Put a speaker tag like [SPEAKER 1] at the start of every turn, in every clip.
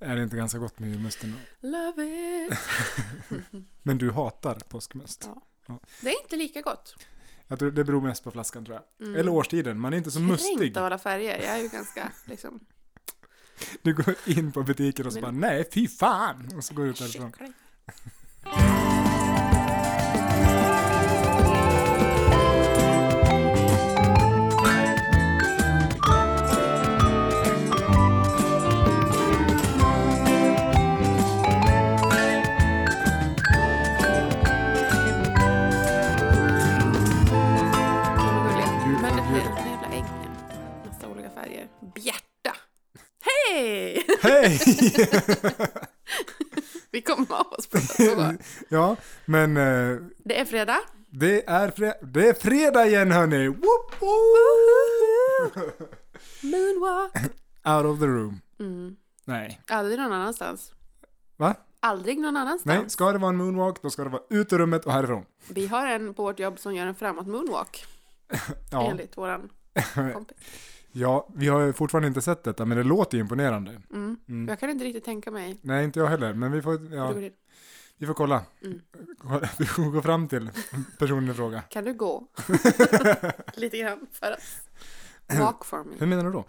[SPEAKER 1] Är det inte ganska gott med julmusten?
[SPEAKER 2] Love it!
[SPEAKER 1] Men du hatar påskmust.
[SPEAKER 2] Ja.
[SPEAKER 1] Ja.
[SPEAKER 2] Det är inte lika gott.
[SPEAKER 1] Jag tror det beror mest på flaskan tror jag.
[SPEAKER 2] Mm.
[SPEAKER 1] Eller årstiden, man är inte så mustig.
[SPEAKER 2] inte alla färger. Jag är ju ganska liksom...
[SPEAKER 1] Du går in på butiken och så
[SPEAKER 2] Men-
[SPEAKER 1] bara nej, fy fan! Och så går du ut därifrån.
[SPEAKER 2] kyckling. De är gulliga. Men det blir en jävla ägg med massa olika färger. Bjärta! Hej!
[SPEAKER 1] Hej!
[SPEAKER 2] Vi kommer av oss på det.
[SPEAKER 1] ja, men eh,
[SPEAKER 2] Det är fredag.
[SPEAKER 1] det, är fre- det är fredag igen hörni! Woop, woop.
[SPEAKER 2] Moonwalk.
[SPEAKER 1] Out of the room.
[SPEAKER 2] Mm.
[SPEAKER 1] Nej.
[SPEAKER 2] Aldrig någon annans.
[SPEAKER 1] Va?
[SPEAKER 2] Aldrig någon annanstans.
[SPEAKER 1] Nej, ska det vara en moonwalk då ska det vara ut ur rummet och härifrån.
[SPEAKER 2] Vi har en på vårt jobb som gör en framåt moonwalk.
[SPEAKER 1] Ja,
[SPEAKER 2] Enligt våran kompis.
[SPEAKER 1] ja, vi har ju fortfarande inte sett detta men det låter ju imponerande.
[SPEAKER 2] Mm.
[SPEAKER 1] Mm.
[SPEAKER 2] Jag kan inte riktigt tänka mig
[SPEAKER 1] Nej, inte jag heller, men vi får,
[SPEAKER 2] hur
[SPEAKER 1] ja,
[SPEAKER 2] det går till.
[SPEAKER 1] vi får kolla.
[SPEAKER 2] Mm.
[SPEAKER 1] Kolla, Vi får gå fram till personen i fråga.
[SPEAKER 2] Kan du gå? Lite grann för att walk for me.
[SPEAKER 1] Hur menar du då?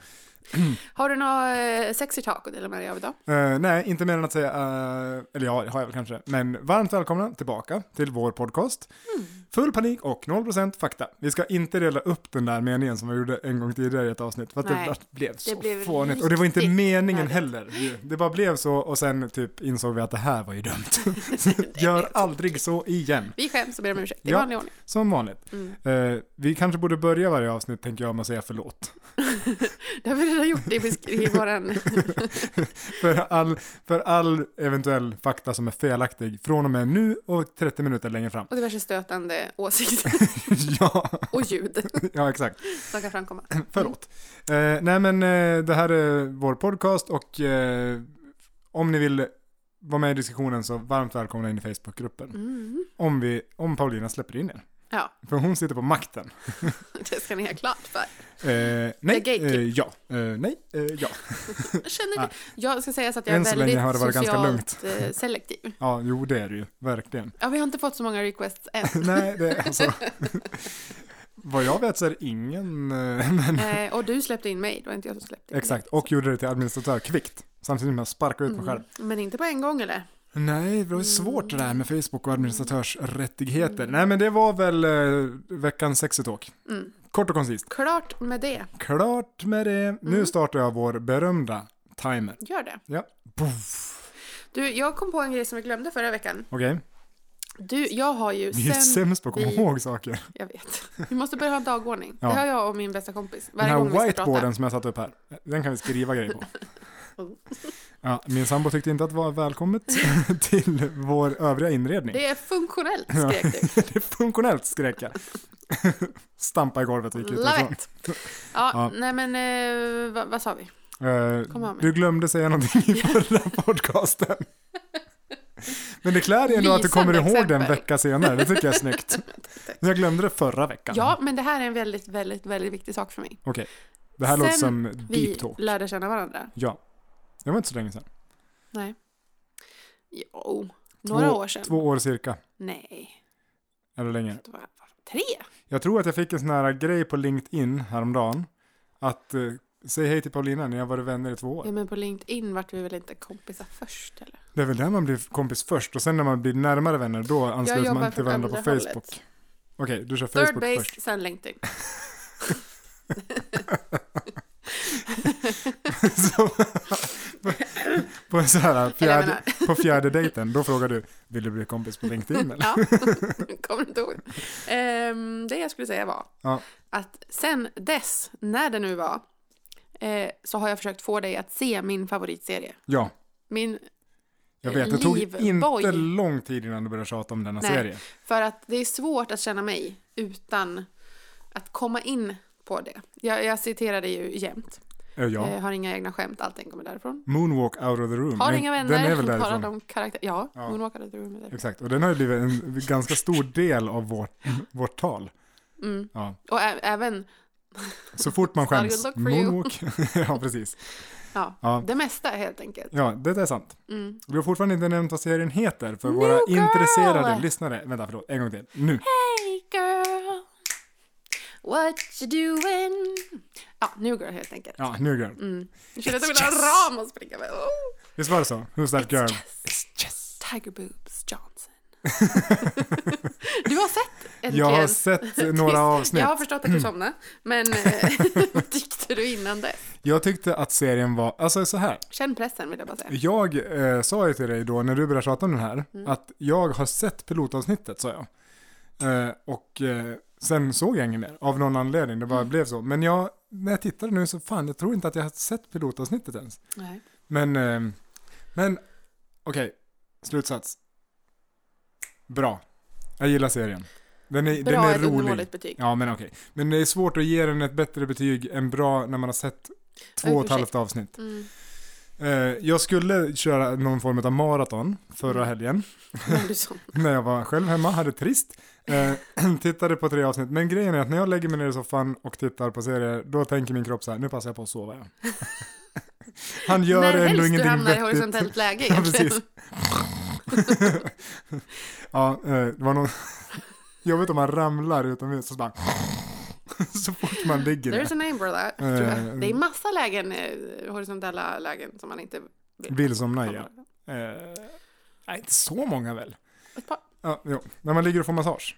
[SPEAKER 2] Har du något eh, sexy tak att dela med dig av idag?
[SPEAKER 1] Eh, nej, inte mer än att säga, eh, eller ja, det har jag väl kanske, men varmt välkomna tillbaka till vår podcast.
[SPEAKER 2] Mm.
[SPEAKER 1] Full panik och 0% fakta. Vi ska inte dela upp den där meningen som vi gjorde en gång tidigare i ett avsnitt, för att
[SPEAKER 2] Nej,
[SPEAKER 1] det blev så
[SPEAKER 2] blev
[SPEAKER 1] fånigt. Och det var inte
[SPEAKER 2] riktigt
[SPEAKER 1] meningen
[SPEAKER 2] nördigt.
[SPEAKER 1] heller. ju. Det bara blev så och sen typ insåg vi att det här var ju dumt. Så Gör aldrig så igen,
[SPEAKER 2] Vi skäms och ber om ursäkt i
[SPEAKER 1] Ja.
[SPEAKER 2] vanlig ordning.
[SPEAKER 1] som vanligt.
[SPEAKER 2] Mm.
[SPEAKER 1] Eh, vi kanske borde börja varje avsnitt, tänker jag, med att säga förlåt.
[SPEAKER 2] Det har vi redan gjort i, besk- i våran...
[SPEAKER 1] För all, för all eventuell fakta som är felaktig från och med nu och 30 minuter längre fram.
[SPEAKER 2] Och diverse stötande åsikter
[SPEAKER 1] ja,
[SPEAKER 2] och ljud
[SPEAKER 1] ja, exakt.
[SPEAKER 2] som kan framkomma.
[SPEAKER 1] Förlåt. Eh, nej, men eh, det här är vår podcast och eh, om ni vill vara med i diskussionen så varmt välkomna in i Facebookgruppen.
[SPEAKER 2] Mm.
[SPEAKER 1] Om, vi, om Paulina släpper in er.
[SPEAKER 2] Ja,
[SPEAKER 1] För hon sitter på makten.
[SPEAKER 2] det ska ni ha klart för.
[SPEAKER 1] Eh, nej,
[SPEAKER 2] gatekeep.
[SPEAKER 1] eh, ja, eh, nej, eh, ja.
[SPEAKER 2] Jag, känner, jag ska säga så att jag är
[SPEAKER 1] Än så länge
[SPEAKER 2] väldigt
[SPEAKER 1] har det varit ganska
[SPEAKER 2] socialt eh, selektiv.
[SPEAKER 1] Ja, jo det är det ju, verkligen.
[SPEAKER 2] Ja, vi har inte fått så många requests än.
[SPEAKER 1] nej, det är alltså. Vad jag vet så är det ingen, eh, men
[SPEAKER 2] Eh, och du släppte in mig, det var inte jag som släppte in
[SPEAKER 1] Exakt, och gjorde det till administratör kvickt. Samtidigt som jag sparkade ut mig
[SPEAKER 2] dig.
[SPEAKER 1] själv.
[SPEAKER 2] Mm. Men inte på en gång eller?
[SPEAKER 1] Nej, det var ju svårt det där med Facebook och administratörsrättigheter. Nej, men det var väl eh, veckans sexetåk.
[SPEAKER 2] Mm.
[SPEAKER 1] Kort och koncist.
[SPEAKER 2] Klart med det,
[SPEAKER 1] Klart med det.
[SPEAKER 2] Mm.
[SPEAKER 1] Nu startar jag vår berömda timer.
[SPEAKER 2] gör det.
[SPEAKER 1] Ja. Puff.
[SPEAKER 2] Du, jag kom på en grej som vi glömde förra veckan.
[SPEAKER 1] Okej,
[SPEAKER 2] Du, jag har ju
[SPEAKER 1] vi är
[SPEAKER 2] sen...
[SPEAKER 1] sämst på att komma
[SPEAKER 2] vi-
[SPEAKER 1] ihåg saker.
[SPEAKER 2] Jag vet. Vi måste börja ha en dagordning.
[SPEAKER 1] Ja.
[SPEAKER 2] Det har jag och min bästa kompis.
[SPEAKER 1] Den
[SPEAKER 2] Varje gång vi
[SPEAKER 1] här
[SPEAKER 2] ska prata.
[SPEAKER 1] whiteboarden som jag satte upp här, den kan vi skriva grejer på.
[SPEAKER 2] Mm.
[SPEAKER 1] Ja, min sambo tyckte inte att det var välkommet till vår övriga inredning.
[SPEAKER 2] Det är funktionellt, skrek du.
[SPEAKER 1] Det är funktionellt skrek jag. Stampa i golvet och gick ut
[SPEAKER 2] Love
[SPEAKER 1] därifrån.
[SPEAKER 2] it. Ja,
[SPEAKER 1] Ja.
[SPEAKER 2] nej men eh, vad, vad sa vi?
[SPEAKER 1] Eh,
[SPEAKER 2] Kom ihåg mig.
[SPEAKER 1] du glömde säga någonting i förra podcasten. Men det klär dig ändå att du kommer
[SPEAKER 2] Lysande
[SPEAKER 1] ihåg den
[SPEAKER 2] exempel.
[SPEAKER 1] vecka senare. Det tycker jag är snyggt. Jag glömde det förra veckan.
[SPEAKER 2] Ja, men det här är en väldigt, väldigt, väldigt viktig sak för mig.
[SPEAKER 1] Okej. Det här låter
[SPEAKER 2] Sen
[SPEAKER 1] som
[SPEAKER 2] Vi
[SPEAKER 1] deep talk.
[SPEAKER 2] lärde känna varandra.
[SPEAKER 1] Ja. Det var inte så länge sedan.
[SPEAKER 2] Nej. Jo, några år sedan.
[SPEAKER 1] Två år cirka.
[SPEAKER 2] Nej,
[SPEAKER 1] Eller längre.
[SPEAKER 2] det var, var tre.
[SPEAKER 1] Jag tror att jag fick en sån här grej på LinkedIn häromdagen. Att eh, säg hej till Paulina, ni har varit vänner i två år.
[SPEAKER 2] Ja, men på LinkedIn vart vi väl inte kompisar först eller?
[SPEAKER 1] Det är väl där man blir kompis först och sen när man blir närmare vänner då ansluter man till varandra på
[SPEAKER 2] andra
[SPEAKER 1] Facebook.
[SPEAKER 2] hållet.
[SPEAKER 1] Okej, du kör
[SPEAKER 2] Third
[SPEAKER 1] Facebook
[SPEAKER 2] base,
[SPEAKER 1] först.
[SPEAKER 2] sen LinkedIn.
[SPEAKER 1] Så, på, en så här
[SPEAKER 2] Eller jag
[SPEAKER 1] fjärde,
[SPEAKER 2] menar,
[SPEAKER 1] på fjärde dejten, då frågar du vill du bli kompis på LinkedIn eller?
[SPEAKER 2] ja, kommer du inte ihåg? Ehm, det jag skulle säga var
[SPEAKER 1] Ja.
[SPEAKER 2] att sen dess, när det nu var, eh, så har jag försökt få dig att se min favoritserie.
[SPEAKER 1] Ja,
[SPEAKER 2] Min,
[SPEAKER 1] jag vet. Det tog
[SPEAKER 2] Liv,
[SPEAKER 1] inte
[SPEAKER 2] boy.
[SPEAKER 1] lång tid innan du började tjata om denna
[SPEAKER 2] Nej.
[SPEAKER 1] serie.
[SPEAKER 2] för att det är svårt att känna mig utan att komma in på det. Jag, jag citerar det ju jämt.
[SPEAKER 1] Ö, Ja.
[SPEAKER 2] Eh, har inga egna skämt, allting kommer därifrån.
[SPEAKER 1] Moonwalk out of the room.
[SPEAKER 2] Har
[SPEAKER 1] Den-
[SPEAKER 2] inga vänner,
[SPEAKER 1] Den är väl
[SPEAKER 2] talar
[SPEAKER 1] därifrån.
[SPEAKER 2] om karaktär. Ja,
[SPEAKER 1] Ja.
[SPEAKER 2] hon åker till rummet. därifrån.
[SPEAKER 1] Exakt, och den har ju blivit en ganska stor del av vårt, vårt tal.
[SPEAKER 2] Mm.
[SPEAKER 1] Ja.
[SPEAKER 2] Och ä- även
[SPEAKER 1] Så fort man
[SPEAKER 3] It's not a
[SPEAKER 1] skäms.
[SPEAKER 3] good look for you.
[SPEAKER 1] Moonwalk. ja, precis.
[SPEAKER 2] Ja,
[SPEAKER 1] Ja.
[SPEAKER 2] det mesta helt enkelt.
[SPEAKER 1] Ja, det är sant.
[SPEAKER 2] Mm.
[SPEAKER 1] Vi har fortfarande inte nämnt vad serien heter för
[SPEAKER 3] New
[SPEAKER 1] våra
[SPEAKER 3] Girl!
[SPEAKER 1] intresserade lyssnare. Vänta, förlåt. En gång till. Nu.
[SPEAKER 3] Hey girl, what you doing?
[SPEAKER 2] Ja, New Girl helt enkelt.
[SPEAKER 1] Ja, New Girl.
[SPEAKER 2] Nu känner jag att jag vill ha en ram och springa med. Oh.
[SPEAKER 1] Visst var det så? Who's that girl?
[SPEAKER 2] Tiger Boobs Johnson. du har sett
[SPEAKER 1] Jag har
[SPEAKER 2] äntligen.
[SPEAKER 1] sett några avsnitt.
[SPEAKER 2] Jag har förstått att du somnade, men eh, tyckte du innan det?
[SPEAKER 1] Jag tyckte att serien var, alltså så här.
[SPEAKER 2] Känn pressen vill jag bara säga.
[SPEAKER 1] Jag eh, sa ju till dig då när du började prata om den här,
[SPEAKER 2] Mm.
[SPEAKER 1] att jag har sett pilotavsnittet sa jag. Eh, och eh, sen såg jag inget mer, av någon anledning, det bara
[SPEAKER 2] Mm.
[SPEAKER 1] blev så. Men jag, när jag tittade nu så fan, jag tror inte att jag har sett pilotavsnittet ens.
[SPEAKER 2] Nej.
[SPEAKER 1] Men, eh, men, okej, slutsats. Bra. Jag gillar serien. Den är, den
[SPEAKER 2] Bra,
[SPEAKER 1] är
[SPEAKER 2] ett
[SPEAKER 1] rolig.
[SPEAKER 2] undermåligt betyg.
[SPEAKER 1] Ja, men okej. Men det är svårt att ge den ett bättre betyg än bra när man har sett två
[SPEAKER 2] Oj,
[SPEAKER 1] och ett halvt
[SPEAKER 2] ursäkta.
[SPEAKER 1] avsnitt.
[SPEAKER 2] Mm.
[SPEAKER 1] Eh, jag skulle köra någon form av maraton
[SPEAKER 2] Mm.
[SPEAKER 1] förra helgen
[SPEAKER 2] Men du som,
[SPEAKER 1] när jag var själv hemma, hade trist. Eh, tittade på tre avsnitt, men grejen är att när jag lägger mig ner i soffan och tittar på serier, då tänker min kropp så här, nu passar jag på att sova. Ja. Han gör
[SPEAKER 2] när helst
[SPEAKER 1] ändå
[SPEAKER 2] du
[SPEAKER 1] ingenting
[SPEAKER 2] hamnar i
[SPEAKER 1] vettigt.
[SPEAKER 2] horisontellt läge
[SPEAKER 1] Ja,
[SPEAKER 2] egentligen.
[SPEAKER 1] precis. Ja, eh, det var någon... Jobbigt om man ramlar utomhus och så bara... så fort man ligger där.
[SPEAKER 2] There's a name for that.
[SPEAKER 1] Eh,
[SPEAKER 2] tror jag. Det är massa lägen, eh, horisontella lägen som man inte vill.
[SPEAKER 1] Vill somna i, ja.
[SPEAKER 2] hamna i.
[SPEAKER 1] Eh, Nej, inte så många väl?
[SPEAKER 2] Ett par.
[SPEAKER 1] Ja, jo. När man ligger och får massage.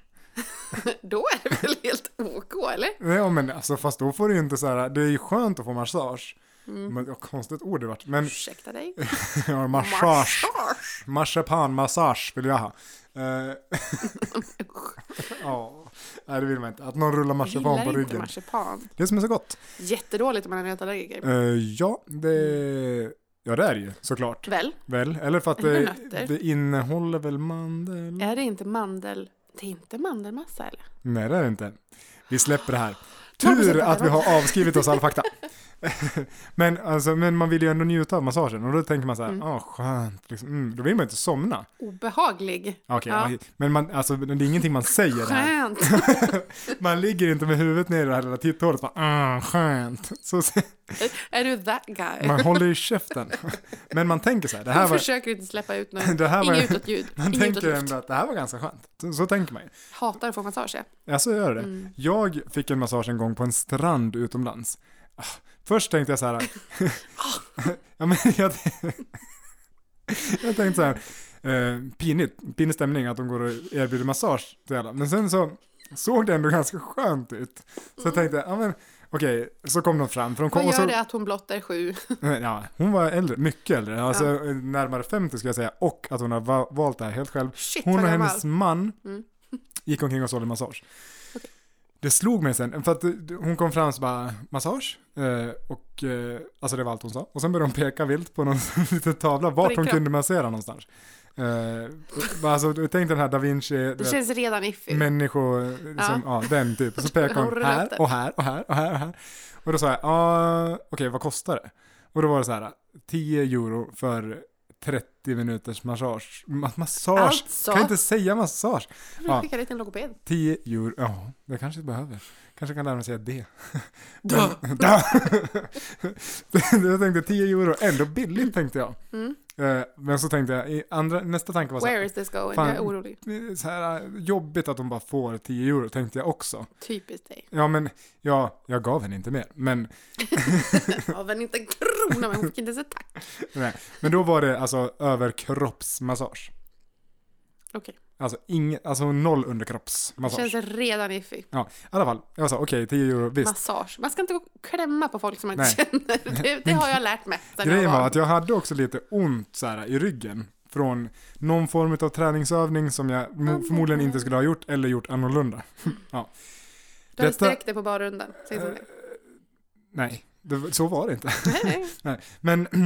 [SPEAKER 2] Då är det väl helt OK, eller?
[SPEAKER 1] Ja, men alltså fast då får du ju inte så här, det är ju skönt att få massage.
[SPEAKER 2] Mm.
[SPEAKER 1] Men, ja, konstigt ord det vart. Men,
[SPEAKER 2] Ursäkta dig.
[SPEAKER 1] ja, massage. Marsipan, massage vill jag ha. Eh,
[SPEAKER 2] Usch,
[SPEAKER 1] ja, nej det vill man inte. Att någon rullar marsipan på
[SPEAKER 2] Gillar inte
[SPEAKER 1] ryggen.
[SPEAKER 2] marsipan.
[SPEAKER 1] Det som är så gott.
[SPEAKER 2] Jättedåligt om man är nötallergiker.
[SPEAKER 1] Eh, ja,
[SPEAKER 2] Mm.
[SPEAKER 1] det... Ja, det är det ju såklart.
[SPEAKER 2] Väl,
[SPEAKER 1] Väl? Eller för att
[SPEAKER 2] Eller
[SPEAKER 1] det,
[SPEAKER 2] nötter.
[SPEAKER 1] det innehåller väl mandel?
[SPEAKER 2] är det inte mandel... Det är inte mandelmassa, eller?
[SPEAKER 1] Nej, det är det inte. Vi släpper det här.
[SPEAKER 2] Ta det
[SPEAKER 1] Tur
[SPEAKER 2] så
[SPEAKER 1] att vi har avskrivit oss all fakta. men, alltså, men man vill ju ändå njuta av massagen och då tänker man så
[SPEAKER 2] Mm.
[SPEAKER 1] här, ah skönt, liksom. mm, då vill man inte somna.
[SPEAKER 2] Obehaglig.
[SPEAKER 1] Okej,
[SPEAKER 2] Ja.
[SPEAKER 1] ja, men man, alltså, det är ingenting man säger här.
[SPEAKER 2] Skönt.
[SPEAKER 1] Man ligger inte med huvudet ner i det här lilla titthålet och bara, ah skönt. Så,
[SPEAKER 2] är du that guy?
[SPEAKER 1] man håller i käften. Men man tänker så här, det här
[SPEAKER 2] Jag
[SPEAKER 1] var...
[SPEAKER 2] försöker inte släppa ut något.
[SPEAKER 1] Det här var-
[SPEAKER 2] Inget utåt ljud.
[SPEAKER 1] Man
[SPEAKER 2] Inget utåt
[SPEAKER 1] tänker
[SPEAKER 2] luft.
[SPEAKER 1] ändå att det här var ganska skönt. Så, så tänker man ju.
[SPEAKER 2] Hatar att få massage. ja.
[SPEAKER 1] Ja, så gör det.
[SPEAKER 2] Mm.
[SPEAKER 1] Jag fick en massage en gång på en strand utomlands. Ah, Först tänkte jag så här. ja, men jag, jag tänkte så här. Eh, pinigt, pinig stämning att de går och erbjuder massage till alla. Men sen så såg det ändå ganska skönt ut. Så jag tänkte, ja men okej, så kom de fram. För de kom
[SPEAKER 2] Mm. Vad
[SPEAKER 1] och så,
[SPEAKER 2] gör det att hon blott är sju?
[SPEAKER 1] Nej, Ja, hon var äldre, mycket äldre, alltså närmare 50 ska jag säga, och att hon har va- valt det här helt själv.
[SPEAKER 2] Shit,
[SPEAKER 1] hon
[SPEAKER 2] vad
[SPEAKER 1] och
[SPEAKER 2] gammal.
[SPEAKER 1] hennes man
[SPEAKER 2] Mm.
[SPEAKER 1] gick omkring och sålde massage. Det slog mig sen, för att eh, hon kom fram och så bara massage, eh, och eh, alltså det var allt hon sa. Och sen började hon peka vilt på någon liten tavla, vart
[SPEAKER 2] din
[SPEAKER 1] hon
[SPEAKER 2] kropp?
[SPEAKER 1] kunde massera någonstans. Eh, alltså tänk den här da Vinci, du
[SPEAKER 2] Det
[SPEAKER 1] vet,
[SPEAKER 2] känns redan iffigt.
[SPEAKER 1] människor, eh, som, ja. den typ. Och så pekade
[SPEAKER 2] Hon
[SPEAKER 1] hon
[SPEAKER 2] rullar
[SPEAKER 1] här
[SPEAKER 2] upp det.
[SPEAKER 1] och här och här och här och här. Och då sa jag, ah, okej vad kostar det? Och då var det så här, 10 euro för 30 minuters massage. Ma- massage!
[SPEAKER 2] Alltså.
[SPEAKER 1] Kan jag inte säga massage?
[SPEAKER 2] Du
[SPEAKER 1] Ja.
[SPEAKER 2] skickar dit en logoped.
[SPEAKER 1] 10 euro, ja, det kanske jag behöver. Kanske kan lära mig säga det.
[SPEAKER 2] Duh.
[SPEAKER 1] Da. jag tänkte 10 euro, ändå billigt tänkte jag.
[SPEAKER 2] Mm.
[SPEAKER 1] Eh, Men så tänkte jag, i andra, nästa tanke var så här,
[SPEAKER 2] Where is this going?
[SPEAKER 1] Fan.
[SPEAKER 2] Jag är orolig.
[SPEAKER 1] så här, eh, jobbigt att de bara får 10 euro tänkte jag också.
[SPEAKER 2] Typiskt dig.
[SPEAKER 1] Ja, men ja, jag gav henne inte mer. Men,
[SPEAKER 2] Av en inte en krona, men hon fick inte ens ett tack.
[SPEAKER 1] nej. men då var det alltså överkroppsmassage.
[SPEAKER 2] Okej,
[SPEAKER 1] Alltså, ing, alltså noll underkroppsmassage.
[SPEAKER 2] känns redan iffigt.
[SPEAKER 1] Ja, i alla fall. Jag sa okej, 10 euro, visst.
[SPEAKER 2] Massage. Man ska inte gå och klämma på folk som man inte
[SPEAKER 1] Nej.
[SPEAKER 2] känner. Det, det har jag lärt mig. sen jag
[SPEAKER 1] Grejen var
[SPEAKER 2] barn.
[SPEAKER 1] att jag hade också lite ont så här, i ryggen från någon form av träningsövning som jag mo- förmodligen inte skulle ha gjort eller gjort annorlunda. ja.
[SPEAKER 2] Du hade
[SPEAKER 1] detta-
[SPEAKER 2] sträckt dig på barrundan. Säg så.
[SPEAKER 1] Eh, Nej, det, så var det inte.
[SPEAKER 2] Nej, nej.
[SPEAKER 1] Nej, men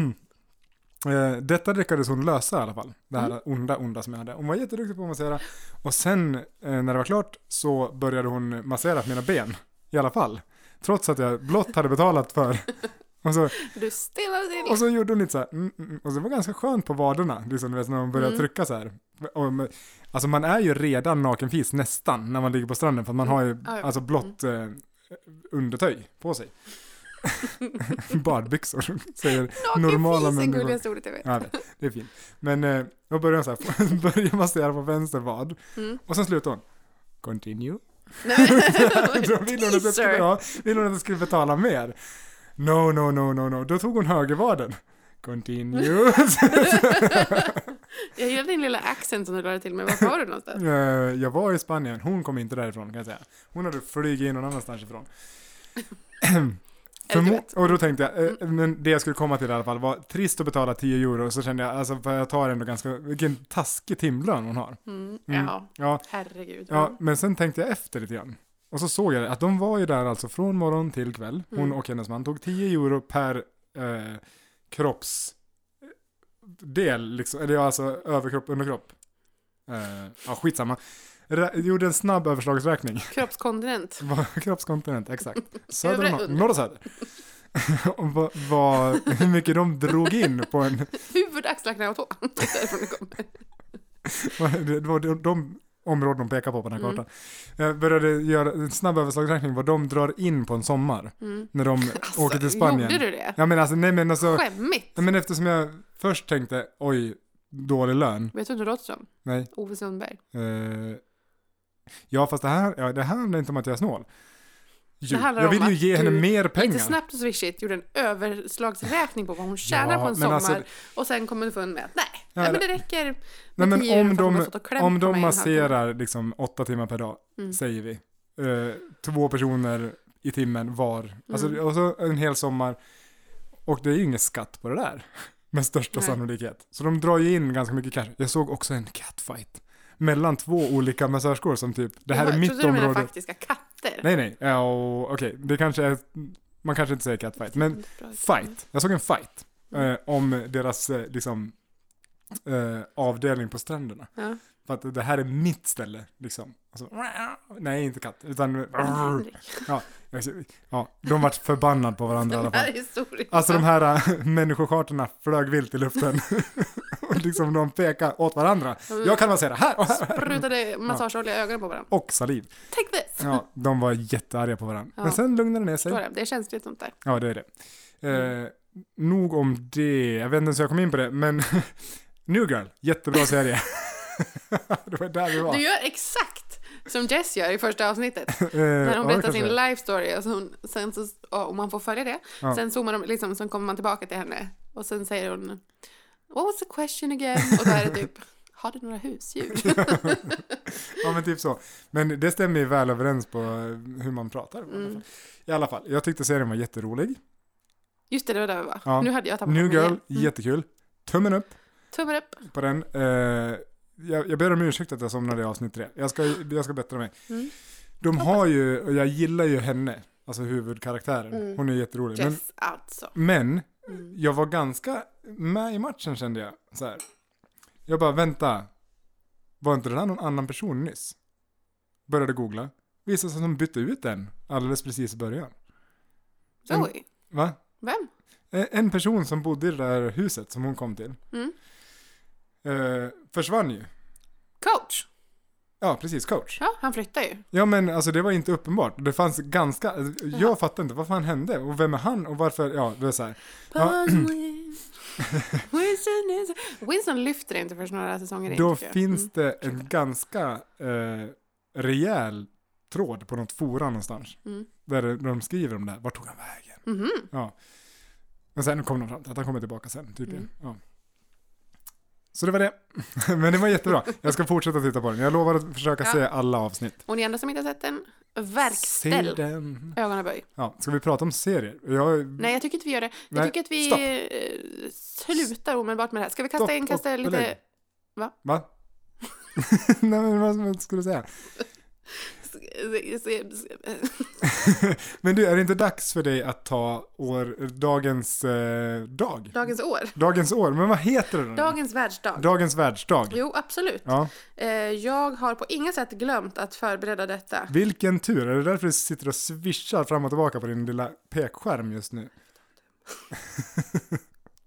[SPEAKER 1] eh, detta lyckades hon lösa i alla fall. Det här onda, onda som jag hade. Hon var jätteduktig på att massera. Och sen eh, när det var klart så började hon massera mina ben. I alla fall. Trots att jag blott hade betalat för. Och så,
[SPEAKER 2] Du stillar
[SPEAKER 1] och
[SPEAKER 2] till.
[SPEAKER 1] så gjorde hon lite så här. Mm, mm, och så var det ganska skönt på vaderna. Liksom, du vet, när hon började trycka så här. Och, men, alltså man är ju redan nakenfis nästan när man ligger på stranden. För att man har ju
[SPEAKER 2] Ja, ja.
[SPEAKER 1] alltså blott eh, undertöj på sig. Badbyxor, säger normala
[SPEAKER 2] Nakenfis är
[SPEAKER 1] människor.
[SPEAKER 2] gulligaste ordet jag vet.
[SPEAKER 1] Ja, det, det är fint. Men eh, då börjar hon så här, börjar massera på vänster vad.
[SPEAKER 2] Mm.
[SPEAKER 1] Och sen slutar hon. Continue.
[SPEAKER 2] Nej,
[SPEAKER 1] då vill hon, att jag skulle,
[SPEAKER 2] teaser.
[SPEAKER 1] ja, vill hon att jag skulle betala mer. No, no, no, no, no. Då tog hon högervaden. Continue.
[SPEAKER 2] Jag gillar din lilla accent som du lade till mig. Var var du någonstans?
[SPEAKER 1] Eh, jag var i Spanien, hon kom inte därifrån kan jag säga. Hon hade flugit in någon annanstans ifrån.
[SPEAKER 2] Eller du
[SPEAKER 1] Förmo-
[SPEAKER 2] vet.
[SPEAKER 1] och då tänkte jag, eh, men det jag skulle komma till i alla fall var trist att betala 10 euro, så kände jag, alltså för jag tar ändå ganska, vilken taskig timlön hon har.
[SPEAKER 2] Mm,
[SPEAKER 1] Mm.
[SPEAKER 2] ja,
[SPEAKER 1] Ja,
[SPEAKER 2] herregud.
[SPEAKER 1] ja, men sen tänkte jag efter lite grann. Och så såg jag att de var ju där alltså från morgon till kväll, hon
[SPEAKER 2] Mm.
[SPEAKER 1] och hennes man, tog 10 euro per eh, kroppsdel, liksom, eller ja, alltså överkropp, underkropp. Eh, ja, skitsamma. Rä- gjorde en snabb överslagsräkning.
[SPEAKER 2] Kroppskontinent.
[SPEAKER 1] Vad- Kroppskontinent, exakt. Söder och
[SPEAKER 2] Övre
[SPEAKER 1] norr,
[SPEAKER 2] under.
[SPEAKER 1] norr och söder. Och vad, vad, hur mycket de drog in på en...
[SPEAKER 2] Huvud, axlar, knä och tå. Det är därifrån det kommer.
[SPEAKER 1] vad- Det var de, de områden de pekar på på den här
[SPEAKER 2] Mm.
[SPEAKER 1] kartan. Jag började göra en snabb överslagsräkning vad de drar in på en sommar
[SPEAKER 2] Mm.
[SPEAKER 1] när de
[SPEAKER 2] Alltså,
[SPEAKER 1] åker till Spanien.
[SPEAKER 2] Gjorde du det?
[SPEAKER 1] Ja men alltså, nej men alltså,
[SPEAKER 2] Skämmigt.
[SPEAKER 1] nej, men eftersom jag först tänkte oj, dålig lön,
[SPEAKER 2] Vet du hur du låter som?
[SPEAKER 1] nej.
[SPEAKER 2] Ove Sundberg.
[SPEAKER 1] Eh, ja fast det här, ja, det här handlar inte om att jag är snål. Jo,
[SPEAKER 2] Det handlar
[SPEAKER 1] jag
[SPEAKER 2] om
[SPEAKER 1] vill ju
[SPEAKER 2] att
[SPEAKER 1] ge henne
[SPEAKER 2] du
[SPEAKER 1] mer pengar.
[SPEAKER 2] Lite snabbt och swishigt gjorde en överslagsräkning på vad hon tjänar
[SPEAKER 1] Ja,
[SPEAKER 2] på en
[SPEAKER 1] men
[SPEAKER 2] sommar.
[SPEAKER 1] alltså-
[SPEAKER 2] och sen kom underfund med att nej, nej,
[SPEAKER 1] Ja,
[SPEAKER 2] men det räcker. med
[SPEAKER 1] Nej men
[SPEAKER 2] 10 euro
[SPEAKER 1] om
[SPEAKER 2] för att hon
[SPEAKER 1] de,
[SPEAKER 2] har fått och klämt
[SPEAKER 1] om
[SPEAKER 2] på mig
[SPEAKER 1] de
[SPEAKER 2] en halvtimme.
[SPEAKER 1] masserar liksom åtta timmar per dag,
[SPEAKER 2] Mm.
[SPEAKER 1] säger vi. Eh, två personer i timmen var.
[SPEAKER 2] Mm.
[SPEAKER 1] Alltså, och så en hel sommar. Och det är ju ingen skatt på det där. Med största
[SPEAKER 2] Nej.
[SPEAKER 1] sannolikhet. Så de drar ju in ganska mycket cash. Jag såg också en catfight. Mellan två olika massörskor som typ, det här
[SPEAKER 2] Jaha,
[SPEAKER 1] är
[SPEAKER 2] jag
[SPEAKER 1] mitt
[SPEAKER 2] trodde du menade
[SPEAKER 1] område.
[SPEAKER 2] faktiska katter.
[SPEAKER 1] Nej nej, ja, och- okej, det kanske är, man kanske inte säger catfight. Men
[SPEAKER 2] Bra.
[SPEAKER 1] fight. Jag såg en fight eh, om deras eh, liksom, eh, avdelning på stränderna.
[SPEAKER 2] Ja.
[SPEAKER 1] För att det här är mitt ställe, liksom. Alltså, nej, inte katt, utan...
[SPEAKER 2] Henrik.
[SPEAKER 1] Ja, de vart förbannade på varandra i alla
[SPEAKER 2] Den
[SPEAKER 1] fall.
[SPEAKER 2] här historien.
[SPEAKER 1] Alltså de här äh, människokartorna flög vilt i luften. och liksom de pekade åt varandra.
[SPEAKER 2] Mm.
[SPEAKER 1] Jag kan massera här och här
[SPEAKER 2] Sprutade massageolja i ögonen på varandra.
[SPEAKER 1] och saliv.
[SPEAKER 2] Take this!
[SPEAKER 1] Ja, de var jättearga på varandra.
[SPEAKER 2] Ja.
[SPEAKER 1] Men sen lugnade det ner
[SPEAKER 2] Förstår
[SPEAKER 1] sig.
[SPEAKER 2] det? Det är känsligt sånt där.
[SPEAKER 1] Ja, det är det.
[SPEAKER 2] Mm.
[SPEAKER 1] Eh, nog om det. Jag vet inte ens hur jag kom in på det, men New Girl, jättebra serie. det var där vi var. Eh,
[SPEAKER 2] Du gör exakt som Jess gör i första avsnittet. När hon berättar sin life story och, så hon, sen så, ja, och man får följa det.
[SPEAKER 1] Ja.
[SPEAKER 2] Sen zoomar de, liksom, sen kommer man tillbaka till henne och sen säger hon What was the question again? Och då är det typ Har du några husdjur?
[SPEAKER 1] Ja men typ så. Men det stämmer ju väl överens på eh, hur man pratar.
[SPEAKER 2] Mm.
[SPEAKER 1] I alla fall, jag tyckte serien var jätterolig.
[SPEAKER 2] Just det, det var där vi var.
[SPEAKER 1] Ja.
[SPEAKER 2] Nu hade jag tappat
[SPEAKER 1] New
[SPEAKER 2] mig
[SPEAKER 1] Girl,
[SPEAKER 2] igen. Mm.
[SPEAKER 1] jättekul. Tummen upp
[SPEAKER 2] Tummen upp.
[SPEAKER 1] på den. Eh, jag, jag ber om ursäkt att jag somnade i avsnitt tre. Jag ska, jag ska bättra mig.
[SPEAKER 2] Mm.
[SPEAKER 1] De har ju, och jag gillar ju henne, alltså huvudkaraktären.
[SPEAKER 2] Mm.
[SPEAKER 1] Hon är jätterolig. Men,
[SPEAKER 2] Jess alltså.
[SPEAKER 1] men
[SPEAKER 2] Mm.
[SPEAKER 1] jag var ganska med i matchen kände jag. Så här. Jag bara, vänta. Var inte det där någon annan person nyss? Började googla. Visade sig att de bytte ut den alldeles precis i början. Mm.
[SPEAKER 2] Zoe.
[SPEAKER 1] Va?
[SPEAKER 2] Vem?
[SPEAKER 1] Eh, En person som bodde i det där huset som hon kom till.
[SPEAKER 2] Mm.
[SPEAKER 1] Eh, försvann ju.
[SPEAKER 2] Coach.
[SPEAKER 1] Ja, precis. Coach.
[SPEAKER 2] Ja, han flyttar ju.
[SPEAKER 1] Ja, men alltså det var inte uppenbart. Det fanns ganska... Jag fattade inte vad fan hände. Och vem är han? Och varför? Ja, det är så här. Ja.
[SPEAKER 2] Puzzling. Winston, is- Winston lyfter inte förrän några säsonger in.
[SPEAKER 1] Då
[SPEAKER 2] tycker jag.
[SPEAKER 1] finns
[SPEAKER 2] Mm.
[SPEAKER 1] det en ganska eh, rejäl tråd på något fora någonstans.
[SPEAKER 2] Mm.
[SPEAKER 1] Där det- de skriver om det här. Vart tog han vägen?
[SPEAKER 2] Mhm.
[SPEAKER 1] Ja. Men sen kom de fram till att han kommer tillbaka sen, tydligen.
[SPEAKER 2] Mm.
[SPEAKER 1] Ja. Så det var det. Men det var jättebra. Jag ska fortsätta titta på den. Jag lovar att försöka
[SPEAKER 2] Ja.
[SPEAKER 1] se alla avsnitt.
[SPEAKER 2] Och ni andra som inte har sett den,
[SPEAKER 1] Se
[SPEAKER 2] verkställ
[SPEAKER 1] den.
[SPEAKER 2] ögonaböj.
[SPEAKER 1] Ja, ska vi prata om serier? Jag,
[SPEAKER 2] Nej, jag tycker inte vi gör det. Jag
[SPEAKER 1] Nej,
[SPEAKER 2] tycker att vi
[SPEAKER 1] stopp.
[SPEAKER 2] eh, slutar omedelbart med det här. Ska vi kasta
[SPEAKER 1] Stopp
[SPEAKER 2] in, kasta
[SPEAKER 1] och
[SPEAKER 2] lite,
[SPEAKER 1] belägg. Va? Nej, men vad vad skulle du säga?
[SPEAKER 2] s- s- s-
[SPEAKER 1] Men du, är det inte dags för dig att ta år, dagens eh, dag?
[SPEAKER 2] dagens år?
[SPEAKER 1] Dagens år, men vad heter det Mm. då?
[SPEAKER 2] Dagens världsdag.
[SPEAKER 1] Dagens världsdag.
[SPEAKER 2] Jo, absolut.
[SPEAKER 1] Ja.
[SPEAKER 2] Eh, jag har på inget sätt glömt att förbereda detta.
[SPEAKER 1] Vilken tur, är det därför du sitter och swishar fram och tillbaka på din lilla pekskärm just nu?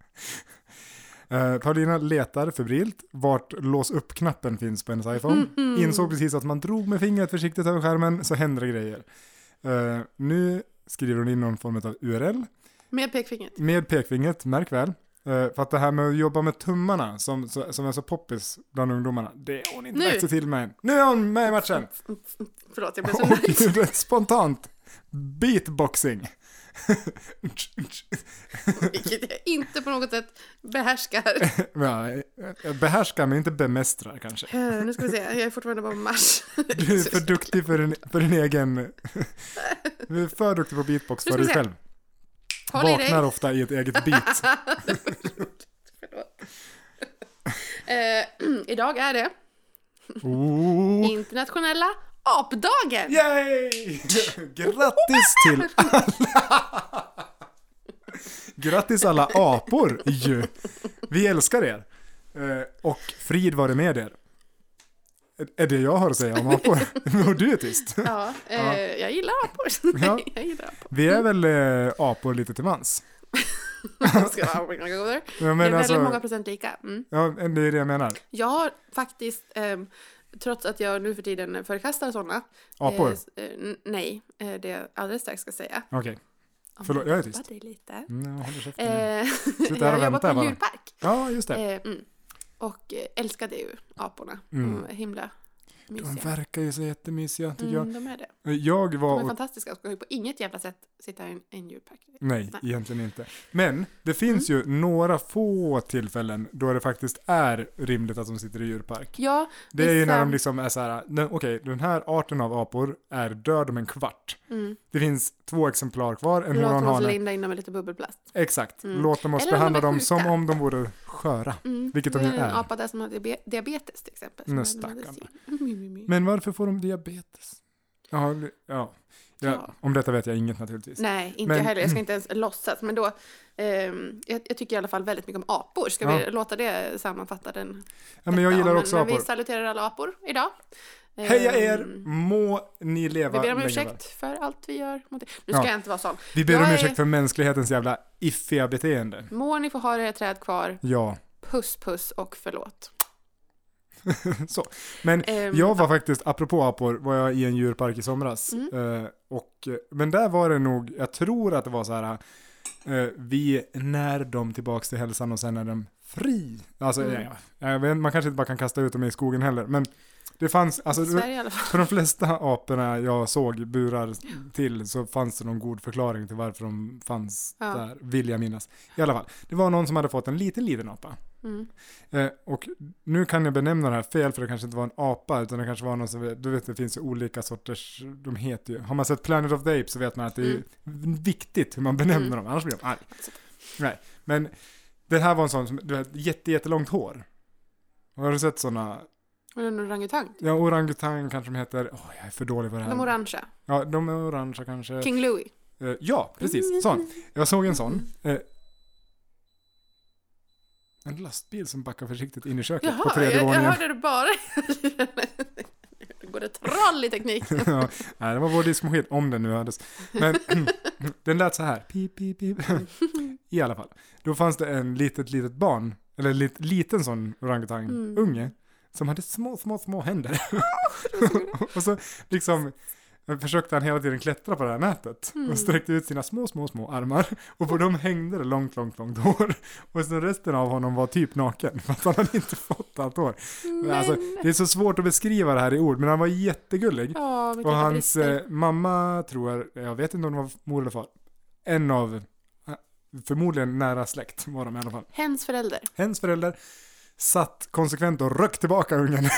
[SPEAKER 1] Eh, Paulina letar febrilt vart lås upp-knappen finns på hennes iPhone. Insåg precis att man drog med fingret försiktigt över skärmen så händer det grejer. Eh, nu skriver hon in någon form av URL
[SPEAKER 2] Med pekfingret.
[SPEAKER 1] med pekfingret, märk väl. Eh, för att det här med att jobba med tummarna som, så- som är så poppis bland ungdomarna, det har hon inte
[SPEAKER 2] Nu.
[SPEAKER 1] lagt sig till med. Nu är hon med i matchen!
[SPEAKER 2] Förlåt, jag blev så
[SPEAKER 1] Och
[SPEAKER 2] nöjd.
[SPEAKER 1] det är spontant beatboxing.
[SPEAKER 2] Vilket jag inte på något sätt behärskar.
[SPEAKER 1] Ja, jag behärskar men inte bemästrar kanske.
[SPEAKER 2] Eh, Nu ska vi se, jag är fortfarande bara på mars.
[SPEAKER 1] Du är för duktig för din, för din egen... Du är för duktig på beatbox för
[SPEAKER 2] Nu ska
[SPEAKER 1] dig
[SPEAKER 2] vi se.
[SPEAKER 1] själv.
[SPEAKER 2] Håll i dig.
[SPEAKER 1] Vaknar ofta i ett eget beat.
[SPEAKER 2] Förlåt. Eh, idag är det
[SPEAKER 1] Oh.
[SPEAKER 2] internationella apdagen.
[SPEAKER 1] Yay! Grattis till alla! Grattis alla apor ju! Vi älskar er! Eh, Och frid vare med er. Är det jag har att säga om apor? Och du är tyst.
[SPEAKER 2] Ja, eh,
[SPEAKER 1] Ja.
[SPEAKER 2] jag gillar apor.
[SPEAKER 1] Ja.
[SPEAKER 2] jag gillar apor.
[SPEAKER 1] Vi är väl eh, apor lite till mans?
[SPEAKER 2] Jag ska vara apor. Jag
[SPEAKER 1] Jag
[SPEAKER 2] det är
[SPEAKER 1] menar
[SPEAKER 2] väldigt många
[SPEAKER 1] alltså,
[SPEAKER 2] procent lika. Mm.
[SPEAKER 1] ja, det är det jag menar.
[SPEAKER 2] Jag har faktiskt, ehm, trots att jag nu för tiden förkastar sådana.
[SPEAKER 1] Apor?
[SPEAKER 2] Eh, s- eh, n- nej, eh, det jag alldeles strax ska säga.
[SPEAKER 1] Okej.
[SPEAKER 2] Om
[SPEAKER 1] Förlåt, jag är tyst.
[SPEAKER 2] jobbar dig lite.
[SPEAKER 1] Mm, jag håller käften nu.
[SPEAKER 2] Eh,
[SPEAKER 1] här
[SPEAKER 2] jag
[SPEAKER 1] och
[SPEAKER 2] jobbar på
[SPEAKER 1] vänta
[SPEAKER 2] en
[SPEAKER 1] bara.
[SPEAKER 2] djurpark.
[SPEAKER 1] Ja, just det.
[SPEAKER 2] Eh, mm. Och eh, älskade ju aporna.
[SPEAKER 1] Mm.
[SPEAKER 2] De är himla
[SPEAKER 1] De
[SPEAKER 2] mysiga.
[SPEAKER 1] verkar ju så jättemysiga tycker
[SPEAKER 2] Mm, de är det.
[SPEAKER 1] jag. Jag
[SPEAKER 2] De är
[SPEAKER 1] var och...
[SPEAKER 2] fantastiska och ska ju på inget jävla sätt sitta i en, en djurpark.
[SPEAKER 1] Nej,
[SPEAKER 2] Nej. Mm.
[SPEAKER 1] egentligen inte. Men det finns ju några få tillfällen då det faktiskt är rimligt att de sitter i djurpark.
[SPEAKER 2] Ja,
[SPEAKER 1] Det är ju när
[SPEAKER 2] Vissa-
[SPEAKER 1] de liksom är så här, "Nej, okej, den här arten av apor är död om en kvart.
[SPEAKER 2] mm.
[SPEAKER 1] Det finns två exemplar kvar, en
[SPEAKER 2] låt oss
[SPEAKER 1] horanhane.
[SPEAKER 2] linda in dem med lite bubbelplast.
[SPEAKER 1] Exakt,
[SPEAKER 2] Mm.
[SPEAKER 1] låt dem oss
[SPEAKER 2] Eller om de
[SPEAKER 1] behandla
[SPEAKER 2] är
[SPEAKER 1] dem
[SPEAKER 2] sjuka.
[SPEAKER 1] som om de vore sköra.
[SPEAKER 2] Mm.
[SPEAKER 1] Vilket
[SPEAKER 2] Det
[SPEAKER 1] de ju
[SPEAKER 2] är en
[SPEAKER 1] är.
[SPEAKER 2] apa där som har diabe- diabetes till exempel. som
[SPEAKER 1] Men
[SPEAKER 2] är en
[SPEAKER 1] stackarn.
[SPEAKER 2] medicin. Mm, mm, mm.
[SPEAKER 1] Men varför får de diabetes? Ja, det- ja. ja,
[SPEAKER 2] Ja.
[SPEAKER 1] om detta vet jag inget naturligtvis.
[SPEAKER 2] Nej, inte
[SPEAKER 1] Men-
[SPEAKER 2] jag heller. Jag ska inte ens låtsas. Men då, ehm, jag, jag tycker i alla fall väldigt mycket om apor. Ska vi
[SPEAKER 1] Ja.
[SPEAKER 2] låta det sammanfatta den?
[SPEAKER 1] ja, men jag
[SPEAKER 2] detta?
[SPEAKER 1] gillar
[SPEAKER 2] men,
[SPEAKER 1] också
[SPEAKER 2] men
[SPEAKER 1] apor.
[SPEAKER 2] Vi saluterar alla apor idag.
[SPEAKER 1] Heja er!
[SPEAKER 2] Ehm,
[SPEAKER 1] Må ni leva
[SPEAKER 2] Vi ber om
[SPEAKER 1] länge
[SPEAKER 2] ursäkt
[SPEAKER 1] väl.
[SPEAKER 2] för allt vi gör. mot er. Nu ska
[SPEAKER 1] Ja.
[SPEAKER 2] jag inte vara sån.
[SPEAKER 1] Vi ber
[SPEAKER 2] Jag
[SPEAKER 1] om
[SPEAKER 2] är-
[SPEAKER 1] ursäkt för mänsklighetens jävla iffiga beteende.
[SPEAKER 2] Må ni få ha era träd kvar.
[SPEAKER 1] Ja,
[SPEAKER 2] Puss, puss och förlåt.
[SPEAKER 1] så. Men
[SPEAKER 2] Ehm,
[SPEAKER 1] jag var faktiskt, apropå apor, var jag i en djurpark i somras.
[SPEAKER 2] Mm.
[SPEAKER 1] Eh, och, eh, men där var det nog, jag tror att det var så här, eh, vi när dem tillbaks till hälsan och sen är de fri. Alltså,
[SPEAKER 2] Mm.
[SPEAKER 1] ja, ja, jag vet, man kanske inte bara kan kasta ut dem i skogen heller, men det fanns, alltså,
[SPEAKER 2] I Sverige i alla fall.
[SPEAKER 1] För de flesta aporna jag såg burar
[SPEAKER 2] Mm.
[SPEAKER 1] till så fanns det någon god förklaring till varför de fanns
[SPEAKER 2] Ja.
[SPEAKER 1] där, vill jag minnas. I alla fall, det var någon som hade fått en liten, liten apa.
[SPEAKER 2] Mm.
[SPEAKER 1] Eh, och nu kan jag benämna det här fel för det kanske inte var en apa utan det kanske var någon som, du vet det finns ju olika sorters, de heter ju, har man sett Planet of the Apes så vet man att det är ju viktigt hur man benämner
[SPEAKER 2] Mm.
[SPEAKER 1] dem, annars blir de arg. Nej, men det här var en sån som, du vet, jätte, jättelångt hår. Har du sett sådana?
[SPEAKER 2] Men en orangutang.
[SPEAKER 1] Ja, orangutang kanske de heter. Åh, jag är för dålig på det här.
[SPEAKER 2] De orangea.
[SPEAKER 1] Ja, de är orangea kanske.
[SPEAKER 2] King Mm. Louie.
[SPEAKER 1] Eh, ja, precis. Sån. Jag såg en sån.
[SPEAKER 2] Mm.
[SPEAKER 1] Eh, en lastbil som backar försiktigt in i köket på
[SPEAKER 2] Jaha,
[SPEAKER 1] tredje
[SPEAKER 2] jag, jag
[SPEAKER 1] våningen.
[SPEAKER 2] hörde det bara. Går det troll i tekniken?
[SPEAKER 1] ja, nej, det var vår diskmaskin, om den nu hördes. Men den lät så här. Pip, pip, pip. I alla fall. Då fanns det en litet, litet barn, eller en lit, liten sån orangutang,
[SPEAKER 2] Mm.
[SPEAKER 1] unge, som hade små, små, små händer. och så liksom försökte han hela tiden klättra på det här nätet och sträckte ut sina små, små, små armar och på dem hängde det långt, långt, långt hår. Och så resten av honom var typ naken för att han hade inte fått allt hår. Men... Alltså, det är så svårt att beskriva det här i ord, men han var jättegullig.
[SPEAKER 2] Ja, vilka
[SPEAKER 1] Och hans
[SPEAKER 2] brister.
[SPEAKER 1] eh, mamma tror jag, jag vet inte om det var mor eller far, en av, eh, förmodligen nära släkt var de i alla fall.
[SPEAKER 2] Hens förälder.
[SPEAKER 1] Hens förälder satt konsekvent och röck tillbaka ungen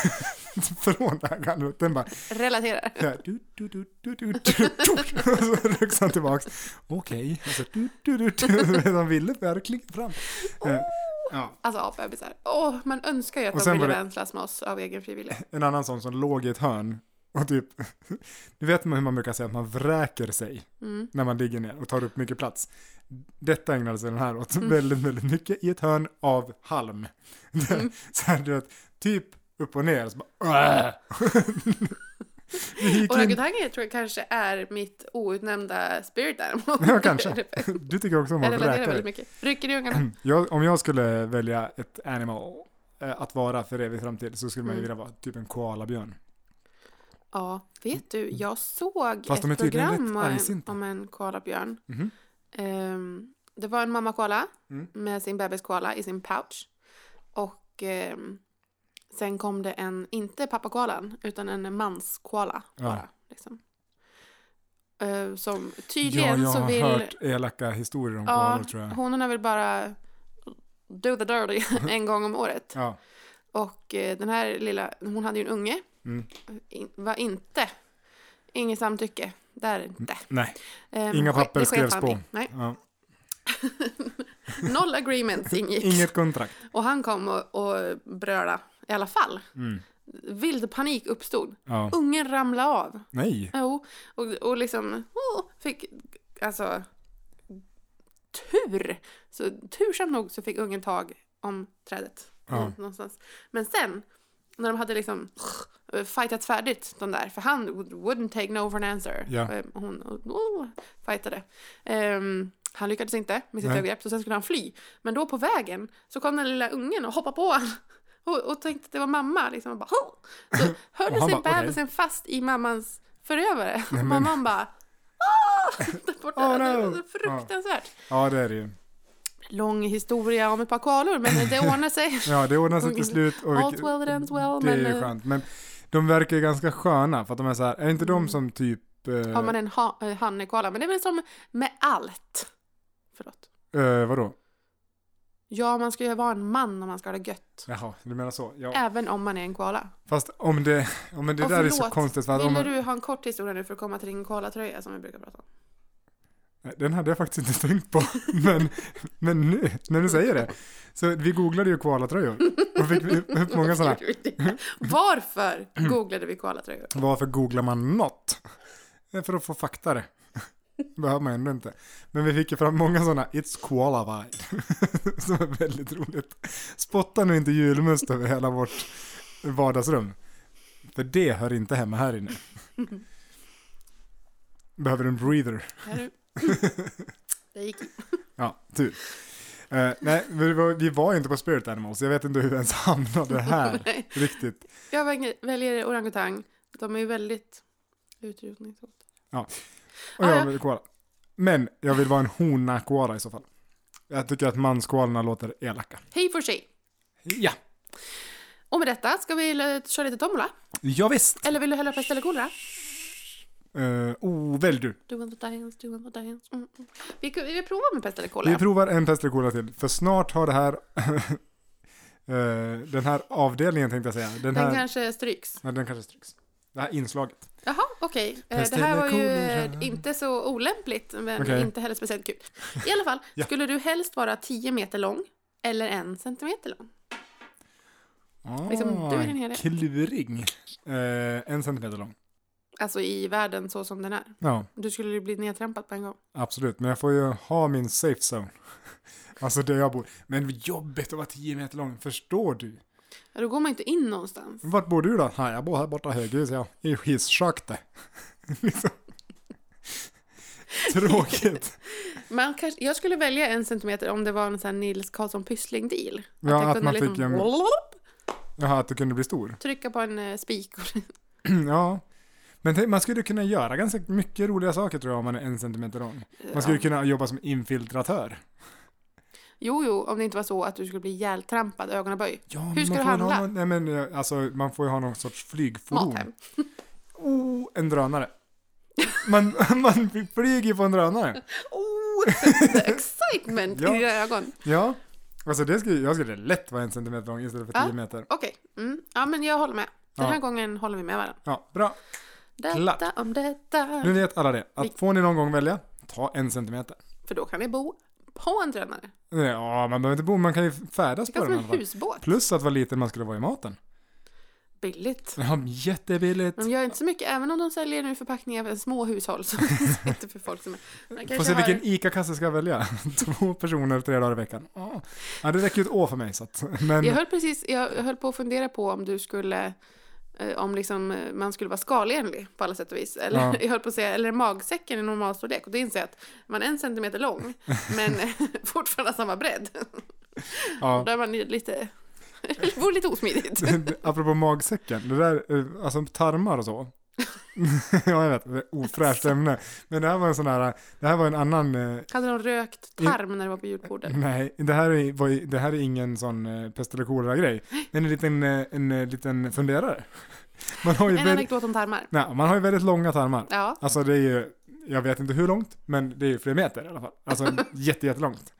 [SPEAKER 1] från det här gallret. Den bara,
[SPEAKER 2] Relaterar.
[SPEAKER 1] så här, du, du, du, du, du, du, du. Och så rycks han tillbaks. Okej, och så du, du, du, du. de ville verkligen fram. Eh, Ja.
[SPEAKER 2] Alltså apbebisar. Åh, man önskar ju
[SPEAKER 1] Och
[SPEAKER 2] att de
[SPEAKER 1] sen
[SPEAKER 2] ville
[SPEAKER 1] var det-
[SPEAKER 2] vänslas med oss av egen frivillighet.
[SPEAKER 1] En annan sån som låg i ett hörn och typ, du vet hur man brukar säga att man vräker sig
[SPEAKER 2] Mm.
[SPEAKER 1] när man ligger ner och tar upp mycket plats. Detta ägnade sig den här åt
[SPEAKER 2] Mm.
[SPEAKER 1] väldigt, väldigt mycket i ett hörn av halm.
[SPEAKER 2] Mm.
[SPEAKER 1] så här, du vet, typ upp och ner. Så bara, "Åh!" Det gick in,
[SPEAKER 2] Orangutangen tror jag kanske är mitt outnämnda spirit animal.
[SPEAKER 1] ja, kanske. Du tycker också om
[SPEAKER 2] Jag
[SPEAKER 1] att
[SPEAKER 2] relaterar
[SPEAKER 1] vräka
[SPEAKER 2] väldigt
[SPEAKER 1] dig.
[SPEAKER 2] mycket. Rycker i ungarna.
[SPEAKER 1] Jag, om jag skulle välja ett animal eh, att vara för evig framtid så skulle man ju
[SPEAKER 2] Mm.
[SPEAKER 1] vilja vara typ en koalabjörn.
[SPEAKER 2] Ja, vet du, jag såg
[SPEAKER 1] Mm. Fast de är
[SPEAKER 2] ett
[SPEAKER 1] tydligen rätt
[SPEAKER 2] program om,
[SPEAKER 1] argsinta.
[SPEAKER 2] om en koalabjörn.
[SPEAKER 1] Mhm.
[SPEAKER 2] Ehm, det var en mamma koala
[SPEAKER 1] Mm.
[SPEAKER 2] med sin bebis koala i sin pouch. Och ehm, sen kom det en, inte pappakoalan, utan en manskoala.
[SPEAKER 1] Ja.
[SPEAKER 2] Bara, liksom. Ehm, som
[SPEAKER 1] Ja,
[SPEAKER 2] tydligen
[SPEAKER 1] jag
[SPEAKER 2] så
[SPEAKER 1] har
[SPEAKER 2] vill...
[SPEAKER 1] hört elaka historier om koalor
[SPEAKER 2] ja,
[SPEAKER 1] tror jag.
[SPEAKER 2] honorna vill bara do the dirty en gång om året.
[SPEAKER 1] Ja.
[SPEAKER 2] Och eh, den här lilla, hon hade ju en unge.
[SPEAKER 1] Mm.
[SPEAKER 2] In, var inte, inget samtycke. Där inte.
[SPEAKER 1] Nej,
[SPEAKER 2] Ehm,
[SPEAKER 1] Inga
[SPEAKER 2] ske-
[SPEAKER 1] papper
[SPEAKER 2] det sker
[SPEAKER 1] skrevs
[SPEAKER 2] fan
[SPEAKER 1] på.
[SPEAKER 2] i. Nej,
[SPEAKER 1] ja.
[SPEAKER 2] noll agreements ingicks.
[SPEAKER 1] inget kontrakt.
[SPEAKER 2] och han kom och, och bröla i alla fall.
[SPEAKER 1] Mm.
[SPEAKER 2] Vild panik uppstod.
[SPEAKER 1] Ja.
[SPEAKER 2] Ungen ramlade av.
[SPEAKER 1] Nej,
[SPEAKER 2] Jo, och, och liksom åh, fick, alltså, tur. Så tursamt nog så fick ungen tag om trädet.
[SPEAKER 1] Ja.
[SPEAKER 2] Nå- Någonstans. Men sen, när de hade liksom fightat färdigt de där, för han would- wouldn't take no for an answer.
[SPEAKER 1] Ja.
[SPEAKER 2] Eh, Hon oh, fightade. Ehm, han lyckades inte med sitt
[SPEAKER 1] Nej.
[SPEAKER 2] övergrepp, så sen skulle han fly. Men då på vägen så kom den lilla ungen och hoppade på honom. Och, och tänkte att det var mamma. Liksom, och bara, "Ho!" så
[SPEAKER 1] Och
[SPEAKER 2] hörde
[SPEAKER 1] han
[SPEAKER 2] sig
[SPEAKER 1] bara,
[SPEAKER 2] bebisen fast i mammans förövare. Och
[SPEAKER 1] men-
[SPEAKER 2] mamman bara Åh! Där borta.
[SPEAKER 1] Oh,
[SPEAKER 2] det
[SPEAKER 1] no.
[SPEAKER 2] var fruktansvärt.
[SPEAKER 1] ja det är det ju.
[SPEAKER 2] Lång historia om ett par koalor, men det ordnar sig.
[SPEAKER 1] Ja, det ordnar sig till slut. Och
[SPEAKER 2] All's well that ends well.
[SPEAKER 1] det är
[SPEAKER 2] men
[SPEAKER 1] ju
[SPEAKER 2] eh,
[SPEAKER 1] skönt. Men de verkar ju ganska sköna för att de är så här, är inte de som typ, eh,
[SPEAKER 2] har man en ha- eh, hannekoala. Men det är väl som med allt. Förlåt.
[SPEAKER 1] eh, vadå?
[SPEAKER 2] Ja, man ska ju vara en man om man ska ha det gött.
[SPEAKER 1] Jaha, du menar så. Ja.
[SPEAKER 2] Även om man är en koala.
[SPEAKER 1] Fast om det, om det
[SPEAKER 2] Åh,
[SPEAKER 1] där är så
[SPEAKER 2] förlåt.
[SPEAKER 1] konstigt. För att om
[SPEAKER 2] Ville
[SPEAKER 1] man,
[SPEAKER 2] du ha en kort historia nu för att komma till din koalatröja som vi brukar prata om?
[SPEAKER 1] Nej, Den hade jag faktiskt inte tänkt på. Men, men nu, när du säger det. Så vi googlade ju koalatröjor. Och fick vi upp många sådana.
[SPEAKER 2] Varför googlade vi koalatröjor?
[SPEAKER 1] Varför googlar man något? Det är För att få fakta det. Behöver man ändå inte. Men vi fick ju fram många sådana It's koala vibe. Som är väldigt roligt. Spotta nu inte julmust över hela vårt vardagsrum. För det hör inte hemma här inne. Behöver en breather.
[SPEAKER 2] Här du. Det gick
[SPEAKER 1] Ja, tur. Eh, nej, vi var, vi var ju inte på Spirit Animals. Jag vet inte hur vi ens hamnade här
[SPEAKER 2] Nej.
[SPEAKER 1] riktigt.
[SPEAKER 2] Jag väg- väljer orangutang. De är ju väldigt utrotningshotade.
[SPEAKER 1] Och
[SPEAKER 2] Ah,
[SPEAKER 1] jag
[SPEAKER 2] ja.
[SPEAKER 1] vill koala. Men jag vill vara en hona-koala i så fall. Jag tycker att manskoalorna låter elaka.
[SPEAKER 2] Hej for sig!
[SPEAKER 1] Ja,
[SPEAKER 2] Och med detta ska vi eh, köra lite tombola.
[SPEAKER 1] ja visst.
[SPEAKER 2] Eller vill du hälla pest eller kolera?
[SPEAKER 1] Eh, oh, välj du.
[SPEAKER 2] Do one for dance, do one for dance. Mm, mm. Vi, kan- vi provar med pest eller
[SPEAKER 1] Vi
[SPEAKER 2] kolera.
[SPEAKER 1] provar en pest eller kolera till. För snart har det här... eh, den här avdelningen tänkte jag säga. Den,
[SPEAKER 2] Den
[SPEAKER 1] här...
[SPEAKER 2] kanske stryks.
[SPEAKER 1] Nej, den kanske stryks. Det här inslaget.
[SPEAKER 2] Jaha, okej. Eh,
[SPEAKER 1] Pest
[SPEAKER 2] Det här
[SPEAKER 1] eller
[SPEAKER 2] var ju
[SPEAKER 1] kolera?
[SPEAKER 2] eh, inte så olämpligt, men
[SPEAKER 1] Okej.
[SPEAKER 2] inte heller speciellt kul. I alla fall,
[SPEAKER 1] Ja.
[SPEAKER 2] skulle du helst vara 10 meter lång eller en centimeter lång?
[SPEAKER 1] Ah,
[SPEAKER 2] Liksom, du är den här-
[SPEAKER 1] kluring. Eh, en centimeter lång.
[SPEAKER 2] Alltså i världen så som den är.
[SPEAKER 1] Ja.
[SPEAKER 2] Du skulle ju bli nedtrampad på en gång.
[SPEAKER 1] Absolut, men jag får ju ha min safe zone. Alltså där jag bor. Men jobbigt att vara 10 meter lång, förstår du?
[SPEAKER 2] Ja, Då går man ju inte in någonstans.
[SPEAKER 1] Vart bor du då? Här, jag bor här borta högerhus, ja. I hisschaktet. Liksom. Tråkigt.
[SPEAKER 2] Man kanske, jag skulle välja en centimeter om det var en sån här Nils Karlsson Pyssling-deal.
[SPEAKER 1] Ja, att man fick
[SPEAKER 2] liksom
[SPEAKER 1] en- Jaha, att du kunde bli stor.
[SPEAKER 2] trycka på en eh, spik. och-
[SPEAKER 1] ja. Men tänk, man skulle kunna göra ganska mycket roliga saker tror jag om man är en centimeter lång. Man skulle
[SPEAKER 2] Ja.
[SPEAKER 1] kunna jobba som infiltratör.
[SPEAKER 2] Jo, jo, om det inte var så att du skulle bli ihjältrampad, ögonaböj.
[SPEAKER 1] Ja,
[SPEAKER 2] Hur
[SPEAKER 1] men
[SPEAKER 2] ska
[SPEAKER 1] man får
[SPEAKER 2] du
[SPEAKER 1] väl ha
[SPEAKER 2] handla?
[SPEAKER 1] någon- Nej, men eh, alltså, man får ju ha någon sorts flygfordon.
[SPEAKER 2] Mathem.
[SPEAKER 1] Oh, en drönare. Man, man flyger på en drönare.
[SPEAKER 2] Oh, the excitement
[SPEAKER 1] Ja.
[SPEAKER 2] i dina ögon.
[SPEAKER 1] Ja. Alltså det skulle, jag skulle lätt vara en centimeter lång istället för
[SPEAKER 2] Ja.
[SPEAKER 1] tio meter.
[SPEAKER 2] Okej, mm. ja men jag håller med. Den
[SPEAKER 1] Ja.
[SPEAKER 2] här gången håller vi med varandra.
[SPEAKER 1] Ja, bra.
[SPEAKER 2] Detta
[SPEAKER 1] Klart.
[SPEAKER 2] om detta.
[SPEAKER 1] Nu vet alla det. Att
[SPEAKER 2] Vi-
[SPEAKER 1] får ni någon gång välja, ta en centimeter.
[SPEAKER 2] För då kan vi bo på en drönare.
[SPEAKER 1] Ja, man behöver inte bo, man kan ju färdas
[SPEAKER 2] Det
[SPEAKER 1] på den
[SPEAKER 2] kan
[SPEAKER 1] i
[SPEAKER 2] som en
[SPEAKER 1] alla fall.
[SPEAKER 2] husbåt.
[SPEAKER 1] Plus att vad liten man skulle vara i maten.
[SPEAKER 2] Billigt.
[SPEAKER 1] Ja, jättebilligt.
[SPEAKER 2] De gör inte så mycket, även om de säljer nu förpackningar för små hushåll. Så det är inte för folk som är... Man kanske
[SPEAKER 1] Får se
[SPEAKER 2] har-
[SPEAKER 1] vilken ICA-kasse ska jag välja. Två personer tre dagar i veckan. Ja, Ja, det räcker ju ett år för mig så att, men,
[SPEAKER 2] Jag höll precis, jag höll på att fundera på om du skulle, eh, om liksom eh, man skulle vara skalenlig på alla sätt och vis. Eller,
[SPEAKER 1] Ja.
[SPEAKER 2] jag höll på att säga, eller magsäcken i normalstorlek. Och det inser jag att man är en centimeter lång, men fortfarande samma bredd.
[SPEAKER 1] ja.
[SPEAKER 2] Då är man ju lite, det vore lite osmidigt.
[SPEAKER 1] Apropå magsäcken, det där, eh, alltså tarmar och så. ja, jag vet. Det är ett ofräscht ämne. Men det här var en sån här, det här var en annan, eh,
[SPEAKER 2] Hade de rökt tarm när du var på julbordet?
[SPEAKER 1] nej, det här är, var, ju- det här är ingen sån eh, pest eller kolera-grej. Det är en liten, eh, en eh, liten funderare. Man har, ju
[SPEAKER 2] En
[SPEAKER 1] väldigt,
[SPEAKER 2] anekdot om tarmar.
[SPEAKER 1] nej, man har ju väldigt långa tarmar.
[SPEAKER 2] Ja,
[SPEAKER 1] Alltså det är ju, jag vet inte hur långt, men det är ju flera meter i alla fall. Alltså jätte, jättelångt.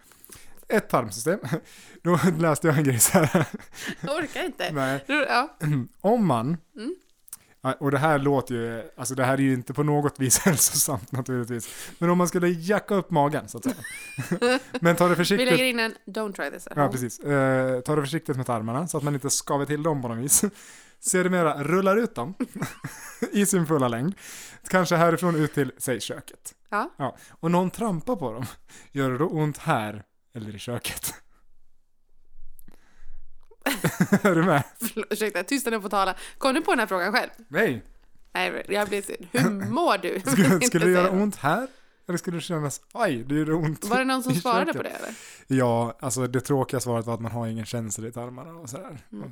[SPEAKER 1] Ett tarmsystem. Då läste jag en grej så här.
[SPEAKER 2] jag orkar inte.
[SPEAKER 1] Nej.
[SPEAKER 2] Ja,
[SPEAKER 1] Om man,
[SPEAKER 2] Mm.
[SPEAKER 1] Ja, och det här låter ju, alltså det här är ju inte på något vis hälsosamt naturligtvis, men om man skulle jacka upp magen så att säga. men ta det
[SPEAKER 2] vi lägger
[SPEAKER 1] försiktigt.
[SPEAKER 2] in en don't try this at
[SPEAKER 1] Ja,
[SPEAKER 2] home.
[SPEAKER 1] precis. Eh, ta det försiktigt med tarmarna så att man inte skaver till dem på något vis. Sedermera rullar ut dem i sin fulla längd. Kanske härifrån ut till, säg köket.
[SPEAKER 2] Ja.
[SPEAKER 1] Och någon trampar på dem. Gör det då ont här eller i köket? är du med?
[SPEAKER 2] Förlåt, Ursäkta, tystnaden får tala. Kom du på den här frågan själv?
[SPEAKER 1] Nej.
[SPEAKER 2] Nej, jag blir sur. Hur mår du? Vill
[SPEAKER 1] Skulle,
[SPEAKER 2] inte
[SPEAKER 1] skulle det göra
[SPEAKER 2] säga.
[SPEAKER 1] ont här? Eller skulle det kännas, aj, det gjorde ont.
[SPEAKER 2] Var det någon som
[SPEAKER 1] i
[SPEAKER 2] svarade
[SPEAKER 1] köket?
[SPEAKER 2] på det eller?
[SPEAKER 1] Ja, alltså det tråkiga svaret var att man har ingen känsel i tarmarna och sådär.
[SPEAKER 2] Mm.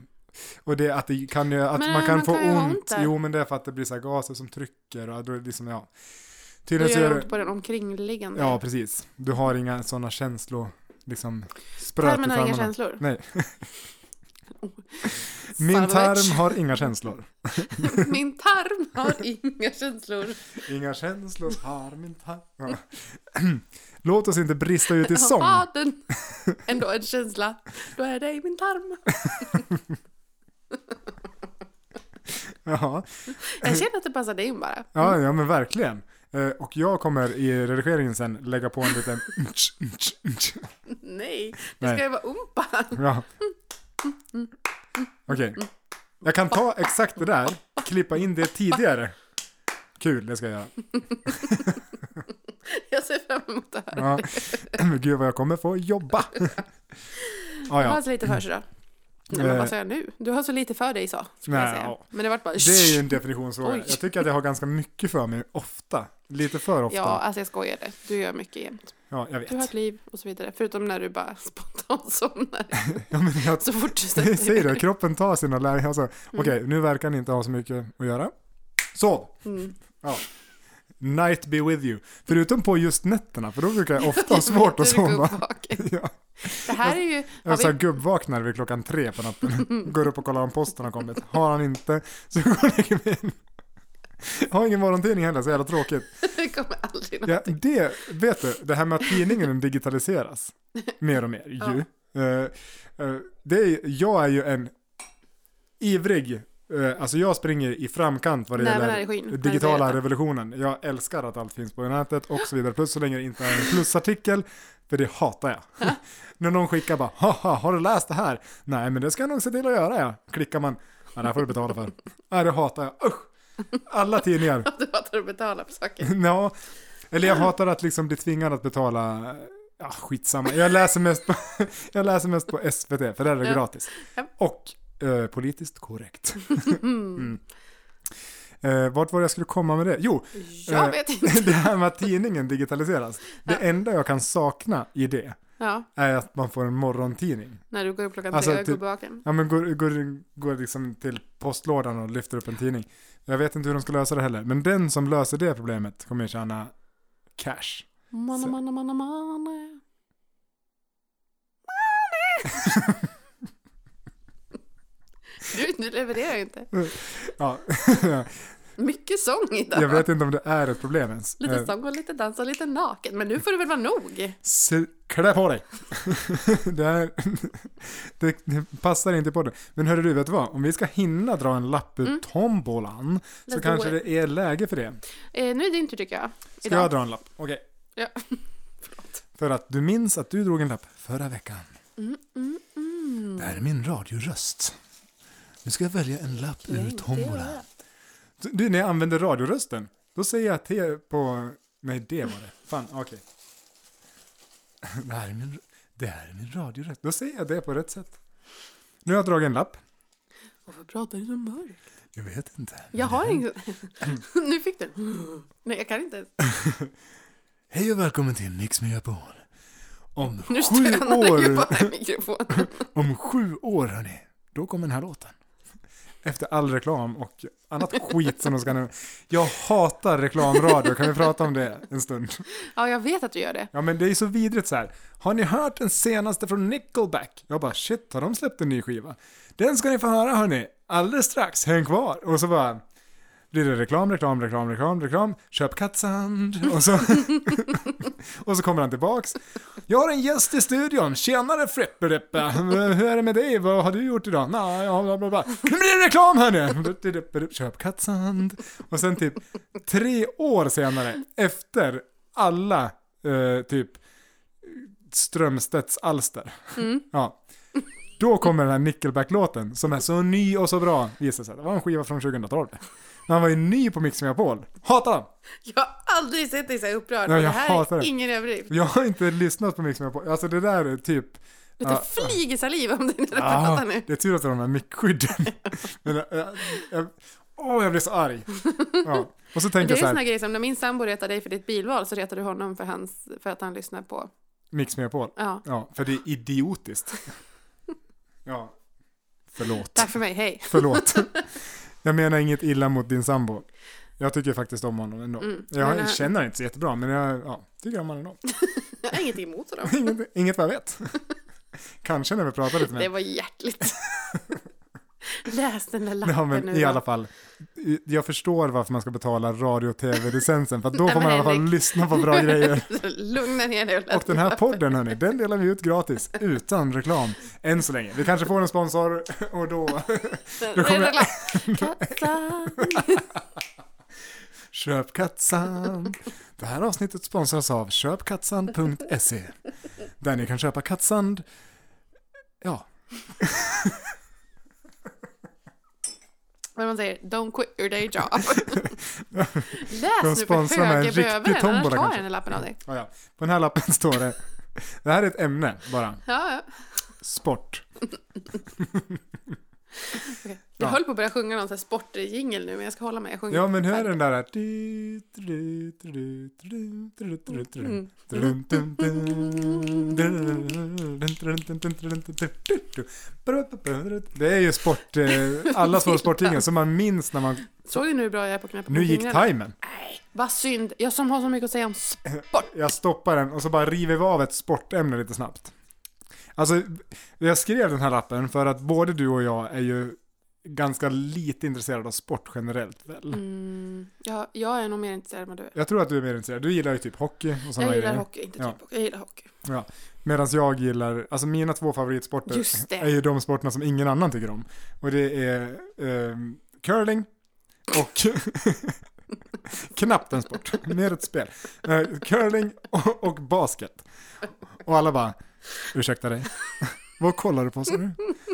[SPEAKER 1] Och det att, det kan ju, att
[SPEAKER 2] Men,
[SPEAKER 1] man kan
[SPEAKER 2] man
[SPEAKER 1] få
[SPEAKER 2] kan ju ha
[SPEAKER 1] ont,
[SPEAKER 2] ont där.
[SPEAKER 1] jo men det är för att det blir så här gaser som trycker och då är det liksom, ja.
[SPEAKER 2] Det
[SPEAKER 1] Tydligen så
[SPEAKER 2] gör
[SPEAKER 1] gör
[SPEAKER 2] ont
[SPEAKER 1] det,
[SPEAKER 2] på den omkringliggande.
[SPEAKER 1] ja precis. Du har inga sådana känslor, liksom spröt i
[SPEAKER 2] Tarmen
[SPEAKER 1] tarmarna.
[SPEAKER 2] har inga känslor.
[SPEAKER 1] Nej.
[SPEAKER 2] Oh.
[SPEAKER 1] Min
[SPEAKER 2] Savage.
[SPEAKER 1] tarm har inga känslor.
[SPEAKER 2] Min tarm har inga känslor.
[SPEAKER 1] Inga känslor har min tarm. Ja. Låt oss inte brista ut i sång.
[SPEAKER 2] Har ah, den ändå en känsla, då är det i min tarm.
[SPEAKER 1] Ja.
[SPEAKER 2] Jag känner att det passar dig in bara.
[SPEAKER 1] Ja, ja men verkligen. Eh, Och jag kommer i redigeringen sen lägga på en liten...
[SPEAKER 2] Nej, det
[SPEAKER 1] Nej.
[SPEAKER 2] ska ju vara umpa.
[SPEAKER 1] Ja. Okej. Jag kan ta exakt det där, klippa in det tidigare. Kul, det ska jag göra.
[SPEAKER 2] Jag ser fram emot det här.
[SPEAKER 1] Ja. Gud vad jag kommer få jobba. Ja,
[SPEAKER 2] Jag har
[SPEAKER 1] ja.
[SPEAKER 2] så lite för sig då. Nej, men
[SPEAKER 1] Eh.
[SPEAKER 2] vad sa jag nu? Du har så lite för dig så, skulle jag
[SPEAKER 1] Nej,
[SPEAKER 2] säga.
[SPEAKER 1] ja.
[SPEAKER 2] Men det vart bara...
[SPEAKER 1] Det är ju en definitionsfråga.
[SPEAKER 2] Oj.
[SPEAKER 1] Jag tycker att jag har ganska mycket för mig ofta. Lite för
[SPEAKER 2] Ja,
[SPEAKER 1] ofta.
[SPEAKER 2] alltså jag skojade. Du gör mycket jämt.
[SPEAKER 1] Ja, jag
[SPEAKER 2] Du har
[SPEAKER 1] vet.
[SPEAKER 2] ett liv och så vidare. Förutom när du bara spontant somnar.
[SPEAKER 1] Ja, men jag
[SPEAKER 2] Så fort du
[SPEAKER 1] Det
[SPEAKER 2] sätter dig
[SPEAKER 1] säger
[SPEAKER 2] ner.
[SPEAKER 1] det, kroppen tar sina lägen. Alltså,
[SPEAKER 2] Mm.
[SPEAKER 1] Okej, nu verkar ni inte ha så mycket att göra. Sov!
[SPEAKER 2] Mm.
[SPEAKER 1] Ja. Night be with you. Förutom på just nätterna, för då brukar jag ofta ha svårt att
[SPEAKER 2] Du går
[SPEAKER 1] sova.
[SPEAKER 2] upp vaken.
[SPEAKER 1] Ja.
[SPEAKER 2] Det här är ju...
[SPEAKER 1] Jag så här
[SPEAKER 2] Har vi,
[SPEAKER 1] gubbvaknar vid klockan tre på natten. Går upp och kollar om posten har kommit. Har han inte, så går jag och lägger mig in. Jag har ingen morgontidning heller, så jävla tråkigt.
[SPEAKER 2] det kommer aldrig någon...
[SPEAKER 1] Ja, det, vet du, det här med att tidningen digitaliseras mer och mer ju. Eh, eh, det är, jag är ju en ivrig, eh, alltså jag springer i framkant vad det
[SPEAKER 2] Nej, men här är skinn.
[SPEAKER 1] gäller
[SPEAKER 2] Här är
[SPEAKER 1] digitala
[SPEAKER 2] det.
[SPEAKER 1] revolutionen. Jag älskar att allt finns på nätet och så vidare. Plus så länge det inte är en plusartikel, för det hatar jag. När någon skickar bara haha, har du läst det här? Nej, men det ska jag nog se till att göra ja. Klickar man, ja, det här får du betala för. Nej, det hatar jag. Usch! Alla tidningar.
[SPEAKER 2] Du hatar att betala på saker.
[SPEAKER 1] Ja, eller jag hatar att liksom bli tvingad att betala, ja skitsamma, jag läser mest på, jag läser mest på SVT för där är det
[SPEAKER 2] Ja.
[SPEAKER 1] gratis.
[SPEAKER 2] Ja.
[SPEAKER 1] Och eh, politiskt korrekt. Mm. Eh, vart var jag skulle komma med det? Jo,
[SPEAKER 2] Jag
[SPEAKER 1] Eh,
[SPEAKER 2] vet inte.
[SPEAKER 1] det här med att tidningen digitaliseras. Det enda jag kan sakna i det
[SPEAKER 2] Ja,
[SPEAKER 1] är att man får en morgontidning.
[SPEAKER 2] när du går upp klockan
[SPEAKER 1] Alltså,
[SPEAKER 2] tre och går
[SPEAKER 1] typ-
[SPEAKER 2] vaken.
[SPEAKER 1] Ja men går, går, går liksom till postlådan och lyfter upp en tidning. Jag vet inte hur de ska lösa det heller, men den som löser det problemet kommer tjäna cash.
[SPEAKER 2] Manne,
[SPEAKER 1] Så-
[SPEAKER 2] manne, manne, manne. Du, nu levererar jag inte.
[SPEAKER 1] Ja,
[SPEAKER 2] Mycket sång idag.
[SPEAKER 1] jag vet inte om det är ett problem ens.
[SPEAKER 2] Lite
[SPEAKER 1] Eh,
[SPEAKER 2] sång och lite dans och lite naken. Men nu får det väl vara nog.
[SPEAKER 1] se- Klä på dig! det, här, det, det passar inte på det. Men hörru du, vet du vad? Om vi ska hinna dra en lapp ur tombolan så
[SPEAKER 2] Mm. do
[SPEAKER 1] kanske
[SPEAKER 2] it.
[SPEAKER 1] det är läge för det.
[SPEAKER 2] Eh, nu är det inte tycker jag.
[SPEAKER 1] Ska
[SPEAKER 2] Idag.
[SPEAKER 1] jag dra en lapp? Okej.
[SPEAKER 2] Ja.
[SPEAKER 1] För att du minns att du drog en lapp förra veckan.
[SPEAKER 2] Mm,
[SPEAKER 1] Det här är min radioröst. Nu ska jag välja en lapp ur tombolan. Du- Du, när jag använder radiorösten, då säger jag T på... Nej, det var det. Fan, okej. Det här är min, det här är min radioröst. Då säger jag det på rätt sätt. Nu har jag dragit en lapp.
[SPEAKER 2] Varför pratar du så mörkt?
[SPEAKER 1] Jag vet inte.
[SPEAKER 2] Jag har ingen... nu fick du en. Nej, jag kan inte ens.
[SPEAKER 1] Hej och välkommen till Mix Megapol. Om sju
[SPEAKER 2] Nu stönar det ju
[SPEAKER 1] år,
[SPEAKER 2] bara i mikrofonen.
[SPEAKER 1] om sju år hörni, då kommer den här låten. efter all reklam och annat skit som de ska nu. Jag hatar reklamradio, kan vi prata om det en stund?
[SPEAKER 2] Ja, jag vet att du gör det.
[SPEAKER 1] Ja men det är ju så vidrigt så här. Har ni hört den senaste från Nickelback? Jag bara shit, har de släppt en ny skiva? Den ska ni få höra hörni, alldeles strax, häng kvar! Och så bara blir det reklam, reklam, reklam, reklam, reklam, köp kattsand och så, och så kommer han tillbaks. Jag har en gäst i studion, tjenare Frippe-Rippe, hur är det med dig, vad har du gjort idag? Nej, ja, bla, bla, bla. Nu blir det reklam hörni! Köp kattsand. Och sen typ tre år senare, efter alla eh, typ Strömstedts alster. Ja. Då kommer den här Nickelback-låten som är så ny och så bra. Visar sig, det var en skiva från 2012. Men han var ju ny på Mix Megapol. Hatar han!
[SPEAKER 2] Jag har aldrig sett dig så här upprörd.
[SPEAKER 1] Nej,
[SPEAKER 2] och det
[SPEAKER 1] jag
[SPEAKER 2] här
[SPEAKER 1] hatar
[SPEAKER 2] är
[SPEAKER 1] det.
[SPEAKER 2] ingen överdrift.
[SPEAKER 1] Jag har inte lyssnat på Mix Megapol. Alltså det där är typ...
[SPEAKER 2] Luktar
[SPEAKER 1] Ja.
[SPEAKER 2] flyg i saliv om det när du
[SPEAKER 1] Ah,
[SPEAKER 2] pratar nu.
[SPEAKER 1] det är tur att det är de här mickskydden. Men, eh, jag, åh, jag blir så arg. Ja. Och så tänker
[SPEAKER 2] Men det är
[SPEAKER 1] jag så
[SPEAKER 2] såna
[SPEAKER 1] här,
[SPEAKER 2] grejer som när min sambo retar dig för ditt bilval så retar du honom för, hans, för att han lyssnar på...
[SPEAKER 1] Mix Megapol.
[SPEAKER 2] Ja,
[SPEAKER 1] Ja, för det är idiotiskt. Ja. Förlåt.
[SPEAKER 2] tack för mig, hej.
[SPEAKER 1] Förlåt. Jag menar inget illa mot din sambo. Jag tycker faktiskt om honom ändå.
[SPEAKER 2] Mm.
[SPEAKER 1] Jag
[SPEAKER 2] Men, eh,
[SPEAKER 1] känner inte så jättebra, men jag ja, tycker om honom ändå.
[SPEAKER 2] Jag har inget emot honom.
[SPEAKER 1] Inget, inget vad jag vet. Kanske när vi pratar lite
[SPEAKER 2] Det
[SPEAKER 1] mer.
[SPEAKER 2] var hjärtligt. Läs den där lappen
[SPEAKER 1] Ja, men
[SPEAKER 2] nu.
[SPEAKER 1] i
[SPEAKER 2] då.
[SPEAKER 1] alla fall. I- Jag förstår varför man ska betala radio och tv-licensen, för att då
[SPEAKER 2] Nej,
[SPEAKER 1] får
[SPEAKER 2] men
[SPEAKER 1] man i alla fall
[SPEAKER 2] Henrik.
[SPEAKER 1] lyssna på bra grejer.
[SPEAKER 2] Lugna ner dig och läs
[SPEAKER 1] Och den här podden, hörni, den delar vi ut gratis, utan reklam, än så länge. Vi kanske får en sponsor, och då
[SPEAKER 2] den.
[SPEAKER 1] då kommer jag-
[SPEAKER 2] jag... Kattan.
[SPEAKER 1] Köp kattsand. Det här avsnittet sponsras av köpkattsand.se där ni kan köpa kattsand. Ja,
[SPEAKER 2] Vad man säger, don't quit your day job.
[SPEAKER 1] De
[SPEAKER 2] Läs nu för
[SPEAKER 1] sponsrar med en
[SPEAKER 2] höger
[SPEAKER 1] riktig
[SPEAKER 2] bövelen, annars
[SPEAKER 1] tombola
[SPEAKER 2] tar jag
[SPEAKER 1] kanske.
[SPEAKER 2] den där lappen av dig.
[SPEAKER 1] ja, ja. på den här lappen står det. Det här är ett ämne bara.
[SPEAKER 2] Ja, ja.
[SPEAKER 1] Sport.
[SPEAKER 2] Okej.
[SPEAKER 1] Ja.
[SPEAKER 2] Jag höll på att börja sjunga någon sån här sportjingel nu, men jag ska hålla mig. Jag sjunger
[SPEAKER 1] Ja, men hur är den där? här? Du, du, du, du, du, du, du, du,
[SPEAKER 2] Mm.
[SPEAKER 1] du. Dun, dun, dun, dun, dun, dun, dun, dun, dun, dun, dun, dun, dun, dun, dun. Det är ju sport, eh, alla små sportingen som man minns när man...
[SPEAKER 2] Såg du nu hur bra jag är på att knäppa
[SPEAKER 1] Nu
[SPEAKER 2] med
[SPEAKER 1] gick
[SPEAKER 2] fingrarna?
[SPEAKER 1] timern.
[SPEAKER 2] Nej, vad synd. Jag som har så mycket att säga om sport.
[SPEAKER 1] jag stoppar den och så bara river vi av ett sportämne lite snabbt. Alltså, jag skrev den här lappen för att både du och jag är ju ganska lite intresserade av sport generellt väl.
[SPEAKER 2] Mm, jag, jag är nog mer intresserad än vad du är.
[SPEAKER 1] Jag tror att du är mer intresserad, du gillar ju typ hockey och sådana
[SPEAKER 2] Jag gillar
[SPEAKER 1] grejer.
[SPEAKER 2] hockey, inte
[SPEAKER 1] Ja.
[SPEAKER 2] typ hockey. Jag gillar hockey.
[SPEAKER 1] Medan jag gillar, alltså mina två favoritsporter
[SPEAKER 2] Just det.
[SPEAKER 1] är ju de sporterna som ingen annan tycker om. Och det är ehm, curling och knappt en sport, mer ett spel. Eh, curling och, och basket. Och alla bara, ursäkta dig, vad kollar du på så nu?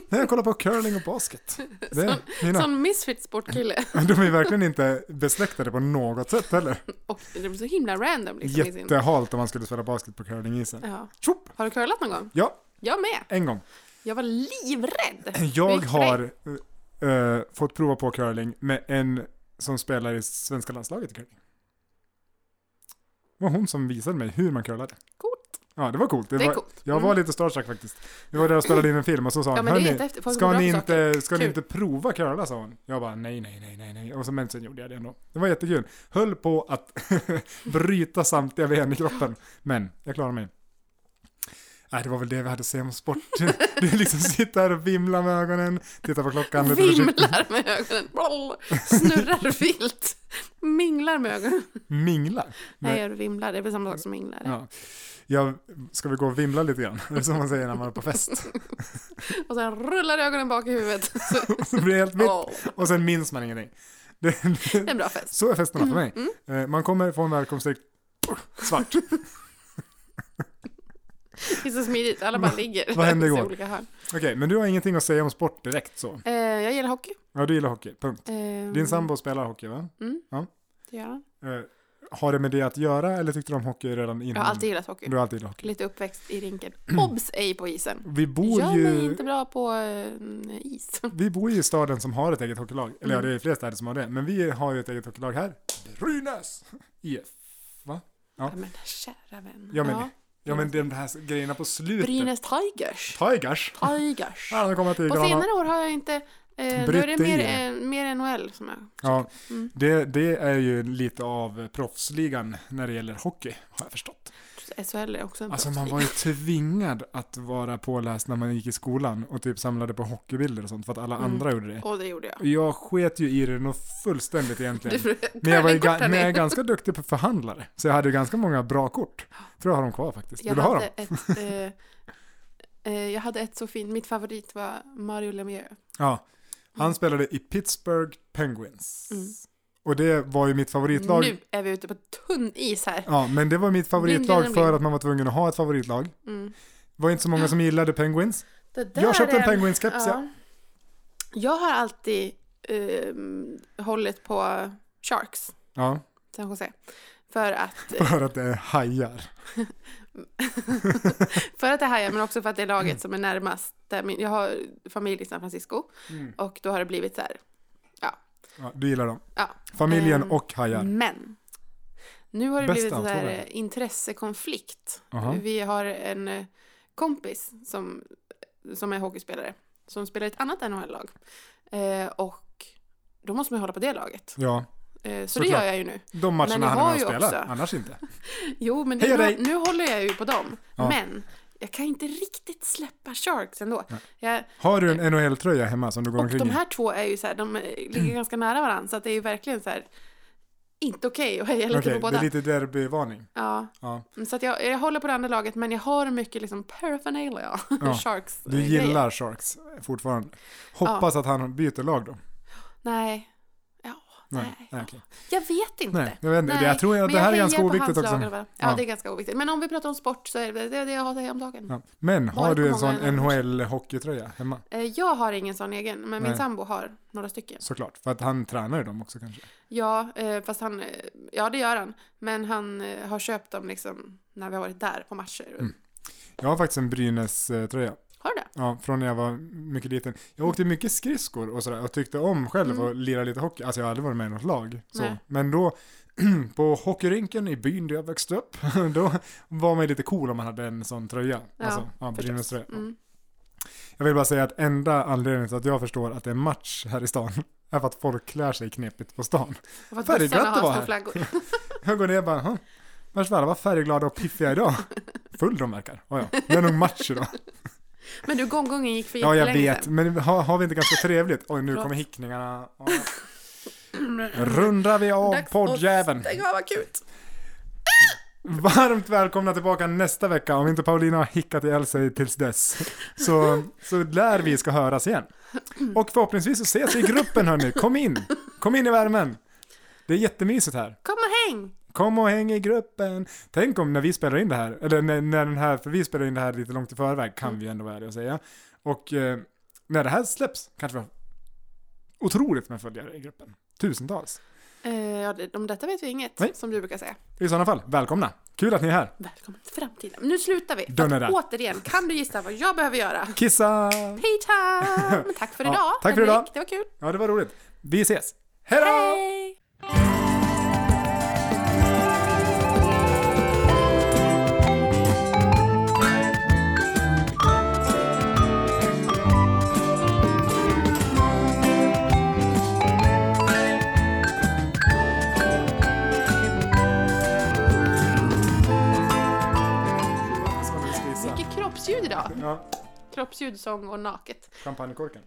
[SPEAKER 1] Nej, jag kollar på curling och basket. Det är mina.
[SPEAKER 2] Sån misfit sportkille.
[SPEAKER 1] De är verkligen inte besläktade på något sätt heller.
[SPEAKER 2] Och det blir så himla random liksom. i sin-
[SPEAKER 1] Jättehalt om man skulle spela basket på curlingisen.
[SPEAKER 2] Ja.
[SPEAKER 1] Tjopp!
[SPEAKER 2] Har du curlat någon gång?
[SPEAKER 1] Ja,
[SPEAKER 2] Jag med.
[SPEAKER 1] en gång.
[SPEAKER 2] Jag var livrädd.
[SPEAKER 1] Jag
[SPEAKER 2] gick det för
[SPEAKER 1] har eh, fått prova på curling med en som spelar i svenska landslaget i curling. Det var hon som visade mig hur man curlade.
[SPEAKER 2] Coolt.
[SPEAKER 1] Ja, det var coolt. Det
[SPEAKER 2] Det är
[SPEAKER 1] var,
[SPEAKER 2] coolt. Mm.
[SPEAKER 1] jag var lite starstruck faktiskt. Vi var där och spelade in en film och så sa
[SPEAKER 2] Ja,
[SPEAKER 1] hon,
[SPEAKER 2] men det är
[SPEAKER 1] "Hörni,
[SPEAKER 2] inte efter. Folk går
[SPEAKER 1] ska,
[SPEAKER 2] bra
[SPEAKER 1] ni
[SPEAKER 2] på saker."
[SPEAKER 1] inte, ska ni
[SPEAKER 2] Kul.
[SPEAKER 1] inte prova curla? sa hon. Jag bara, nej, nej, nej, nej, nej. Och så, men sen gjorde jag det ändå. Det var jättekul. Höll på att bryta samtliga ben i kroppen. Men jag klarade mig. Nej, det var väl det vi hade att säga om sport. Du liksom sitter här och vimlar med ögonen, tittar på klockan lite försiktigt.
[SPEAKER 2] Vimlar med ögonen. Boll. Snurrar vilt. Minglar med ögonen.
[SPEAKER 1] Minglar.
[SPEAKER 2] Nej,
[SPEAKER 1] Nej.
[SPEAKER 2] jag vimlar. Det är väl samma sak som minglar.
[SPEAKER 1] Ja. Jag, ska vi gå och vimla lite grann? Det är som man säger när man är på fest.
[SPEAKER 2] Och sen rullar ögonen bak i huvudet. Så,
[SPEAKER 1] Och så blir det helt vitt.
[SPEAKER 2] Åh,
[SPEAKER 1] Och sen minns man ingenting. Det,
[SPEAKER 2] det är en bra fest.
[SPEAKER 1] så
[SPEAKER 2] Mm.
[SPEAKER 1] är festerna för mig. Eh, Man kommer få en välkomstdryck, svart.
[SPEAKER 2] Det är så smidigt. Alla bara ligger.
[SPEAKER 1] vad hände
[SPEAKER 2] i
[SPEAKER 1] igår?
[SPEAKER 2] Olika hörn.
[SPEAKER 1] Okej, men du har ingenting att säga om sport direkt så.
[SPEAKER 2] Eh, jag gillar hockey.
[SPEAKER 1] Ja, du gillar hockey, punkt.
[SPEAKER 2] Eh,
[SPEAKER 1] Din sambo spelar hockey va?
[SPEAKER 2] Mm.
[SPEAKER 1] Ja.
[SPEAKER 2] Det gör han.
[SPEAKER 1] Eh, Har det med det att göra eller tyckte du om hockey redan innan?
[SPEAKER 2] Jag har alltid gillat hockey.
[SPEAKER 1] Du har alltid gillat hockey.
[SPEAKER 2] Lite uppväxt i rinken. Obs! Ej på isen.
[SPEAKER 1] Vi bor
[SPEAKER 2] Jag är
[SPEAKER 1] Mm. ju...
[SPEAKER 2] inte bra på eh, is.
[SPEAKER 1] Vi bor ju i staden som har ett eget hockeylag. Eller ja,
[SPEAKER 2] Mm.
[SPEAKER 1] det är flera städer som har det. Men vi har ju ett eget hockeylag här. Brynäs! IF.
[SPEAKER 2] Ja, men kära vän.
[SPEAKER 1] Ja, men- Ja, men de här grejerna på slutet.
[SPEAKER 2] Brynäs Tigers.
[SPEAKER 1] Tigers.
[SPEAKER 2] Tigers.
[SPEAKER 1] Ja, nu kommer jag till
[SPEAKER 2] På
[SPEAKER 1] Grana.
[SPEAKER 2] senare år har jag inte Eh, då är det
[SPEAKER 1] Bryt
[SPEAKER 2] mer,
[SPEAKER 1] i.
[SPEAKER 2] eh, mer NHL som är.
[SPEAKER 1] Ja,
[SPEAKER 2] Mm.
[SPEAKER 1] det, det är ju lite av proffsligan när det gäller hockey, har jag förstått.
[SPEAKER 2] SHL är också en
[SPEAKER 1] Alltså man
[SPEAKER 2] proffsliga.
[SPEAKER 1] var ju tvingad att vara påläst när man gick i skolan och typ samlade på hockeybilder och sånt för att alla
[SPEAKER 2] Mm.
[SPEAKER 1] andra gjorde det.
[SPEAKER 2] Och det gjorde jag.
[SPEAKER 1] Jag sket ju i det nog fullständigt egentligen.
[SPEAKER 2] Du,
[SPEAKER 1] Men jag, var ju ga-
[SPEAKER 2] curlingkorten
[SPEAKER 1] men jag
[SPEAKER 2] är-
[SPEAKER 1] är ganska duktig på förhandlare, så jag hade ju ganska många bra kort. Tror jag har dem kvar faktiskt. Vill
[SPEAKER 2] Jag
[SPEAKER 1] du ha dem?
[SPEAKER 2] hade, ett, eh, eh, jag hade ett så fint, mitt favorit var Mario Lemieux.
[SPEAKER 1] Ja. Han spelade i Pittsburgh Penguins.
[SPEAKER 2] Mm.
[SPEAKER 1] Och det var ju mitt favoritlag.
[SPEAKER 2] Nu är vi ute på tunn is här.
[SPEAKER 1] Ja, men det var mitt
[SPEAKER 2] Blind
[SPEAKER 1] favoritlag
[SPEAKER 2] genom blind.
[SPEAKER 1] för att man var tvungen att ha ett favoritlag.
[SPEAKER 2] Mm.
[SPEAKER 1] Det var inte så många som gillade Penguins.
[SPEAKER 2] Det där
[SPEAKER 1] Jag köpte
[SPEAKER 2] är
[SPEAKER 1] en Penguins-keps, ja.
[SPEAKER 2] Jag har alltid eh, hållit på Sharks,
[SPEAKER 1] Ja,
[SPEAKER 2] San Jose. För att,
[SPEAKER 1] för att det är hajar.
[SPEAKER 2] för att det här är, men också för att det är
[SPEAKER 1] Mm.
[SPEAKER 2] laget som är närmast. Där min, jag har familj i San Francisco och då har det blivit så här.
[SPEAKER 1] Ja, du gillar dem.
[SPEAKER 2] Ja,
[SPEAKER 1] Familjen
[SPEAKER 2] Ehm,
[SPEAKER 1] och hajar.
[SPEAKER 2] Men nu har det
[SPEAKER 1] Bästa
[SPEAKER 2] blivit en
[SPEAKER 1] av
[SPEAKER 2] sån här
[SPEAKER 1] två världar.
[SPEAKER 2] eh, intressekonflikt.
[SPEAKER 1] Aha.
[SPEAKER 2] Vi har en eh, kompis som, som är hockeyspelare som spelar i ett annat NHL-lag. Eh, och då måste man ju hålla på det laget.
[SPEAKER 1] Ja,
[SPEAKER 2] Eh, så det
[SPEAKER 1] Såklart.
[SPEAKER 2] gör jag ju nu.
[SPEAKER 1] de matcherna
[SPEAKER 2] Men jag
[SPEAKER 1] hann
[SPEAKER 2] har
[SPEAKER 1] man
[SPEAKER 2] ju
[SPEAKER 1] spela,
[SPEAKER 2] också-
[SPEAKER 1] annars inte.
[SPEAKER 2] Jo, men
[SPEAKER 1] Heja
[SPEAKER 2] det,
[SPEAKER 1] dig!
[SPEAKER 2] nu, nu håller jag ju på dem.
[SPEAKER 1] Ja.
[SPEAKER 2] Men jag kan inte riktigt släppa Sharks ändå.
[SPEAKER 1] Nej.
[SPEAKER 2] Jag,
[SPEAKER 1] Har du en NHL-tröja hemma som du går
[SPEAKER 2] och de
[SPEAKER 1] omkring i?
[SPEAKER 2] här två är ju så här, de eh, ligger ganska nära varandra. Så att det är ju verkligen så här, inte okej att heja lite
[SPEAKER 1] Okej,
[SPEAKER 2] på
[SPEAKER 1] det
[SPEAKER 2] båda.
[SPEAKER 1] är lite derbyvarning.
[SPEAKER 2] Ja.
[SPEAKER 1] Ja.
[SPEAKER 2] Mm, Så att jag, jag håller på det andra laget men jag har mycket liksom paraphernalia.
[SPEAKER 1] Ja,
[SPEAKER 2] Sharks.
[SPEAKER 1] Du
[SPEAKER 2] eh, grejer.
[SPEAKER 1] gillar Sharks fortfarande. Hoppas att han byter lag då.
[SPEAKER 2] Nej. Ja, nej.
[SPEAKER 1] Nej, nej, okej.
[SPEAKER 2] Jag vet inte.
[SPEAKER 1] nej jag vet inte.
[SPEAKER 2] Nej,
[SPEAKER 1] Jag tror att
[SPEAKER 2] men
[SPEAKER 1] det här är
[SPEAKER 2] hejar
[SPEAKER 1] ganska
[SPEAKER 2] på
[SPEAKER 1] oviktigt
[SPEAKER 2] hans lag
[SPEAKER 1] också.
[SPEAKER 2] i alla fall. Ja,
[SPEAKER 1] Ja.
[SPEAKER 2] det är ganska oviktigt. Men om vi pratar om sport så är det det, är det jag har att säga om dagen.
[SPEAKER 1] Ja. Men har
[SPEAKER 2] Varit på
[SPEAKER 1] du en
[SPEAKER 2] många
[SPEAKER 1] sån
[SPEAKER 2] matcher.
[SPEAKER 1] NHL-hockeytröja hemma?
[SPEAKER 2] Eh, Jag har ingen sån egen, men min
[SPEAKER 1] Nej.
[SPEAKER 2] sambo har några stycken.
[SPEAKER 1] Såklart, för att han tränar ju dem också kanske.
[SPEAKER 2] Ja, eh, fast han, eh, ja det gör han. Men han eh, har köpt dem liksom när vi har varit där på matcher.
[SPEAKER 1] Mm. Jag har faktiskt en eh, Brynäs-tröja.
[SPEAKER 2] Har du det?
[SPEAKER 1] Ja, från när jag var mycket liten. Jag åkte mycket skridskor och sådär och tyckte om själv
[SPEAKER 2] Mm.
[SPEAKER 1] att lira lite hockey. Alltså jag har aldrig varit med i något lag. Så.
[SPEAKER 2] Nej.
[SPEAKER 1] Men då, på hockeyrinken i byn där jag växte upp, då var man ju lite cool om man hade en sån tröja.
[SPEAKER 2] Ja,
[SPEAKER 1] alltså, ja,
[SPEAKER 2] förstås.
[SPEAKER 1] Brynäs-tröja.
[SPEAKER 2] Mm.
[SPEAKER 1] Jag vill bara säga att enda anledningen till att jag förstår att det är match här i stan är för att folk klär sig knepigt på stan.
[SPEAKER 2] Och för att
[SPEAKER 1] Färgglatt
[SPEAKER 2] bussarna
[SPEAKER 1] det var
[SPEAKER 2] har
[SPEAKER 1] här.
[SPEAKER 2] små flaggor.
[SPEAKER 1] Jag går ner och bara, "Huh? vars väl, vad färgglada och piffiga idag. Full de verkar. Oh, ja. Det är nog match idag.
[SPEAKER 2] Men du, gonggongen gick för
[SPEAKER 1] Ja, jag
[SPEAKER 2] jättelänge
[SPEAKER 1] vet, men har, har vi inte ganska trevligt? Oj, nu
[SPEAKER 2] Förlåt.
[SPEAKER 1] kommer hickningarna. Ja. Rundar vi av
[SPEAKER 2] Dags
[SPEAKER 1] poddjäveln.
[SPEAKER 2] Stäng av akut!
[SPEAKER 1] Varmt välkomna tillbaka nästa vecka, om inte Paulina har hickat ihjäl sig tills dess. Så, så lär vi ska höras igen. Och förhoppningsvis så ses vi i gruppen hörni, kom in! Kom in i värmen! Det är jättemysigt här.
[SPEAKER 2] Kom och häng!
[SPEAKER 1] Kom och häng i gruppen. Tänk om när vi spelar in det här, eller när, när den här, för vi spelar in det här lite långt i förväg kan vi ju ändå vara ärliga och säga. Och eh, när det här släpps kanske vi har otroligt med följare i gruppen. Tusentals.
[SPEAKER 2] Eh, ja, det- om detta vet vi inget,
[SPEAKER 1] Nej.
[SPEAKER 2] som du brukar säga.
[SPEAKER 1] I sådana fall, välkomna. Kul att ni är här.
[SPEAKER 2] Välkommen till framtiden. Nu slutar vi.
[SPEAKER 1] Dörren är
[SPEAKER 2] För att återigen, kan du gissa vad jag behöver göra?
[SPEAKER 1] Kissa!
[SPEAKER 2] Hej time! Tack för
[SPEAKER 1] Ja,
[SPEAKER 2] idag!
[SPEAKER 1] tack för idag.
[SPEAKER 2] Henrik. Det var kul.
[SPEAKER 1] Ja, det var roligt. Vi ses. Hej då!
[SPEAKER 2] Hej! Mycket kroppsljud idag.
[SPEAKER 1] Ja,
[SPEAKER 2] Kroppsljud, sång och naket.
[SPEAKER 1] champagnekorken.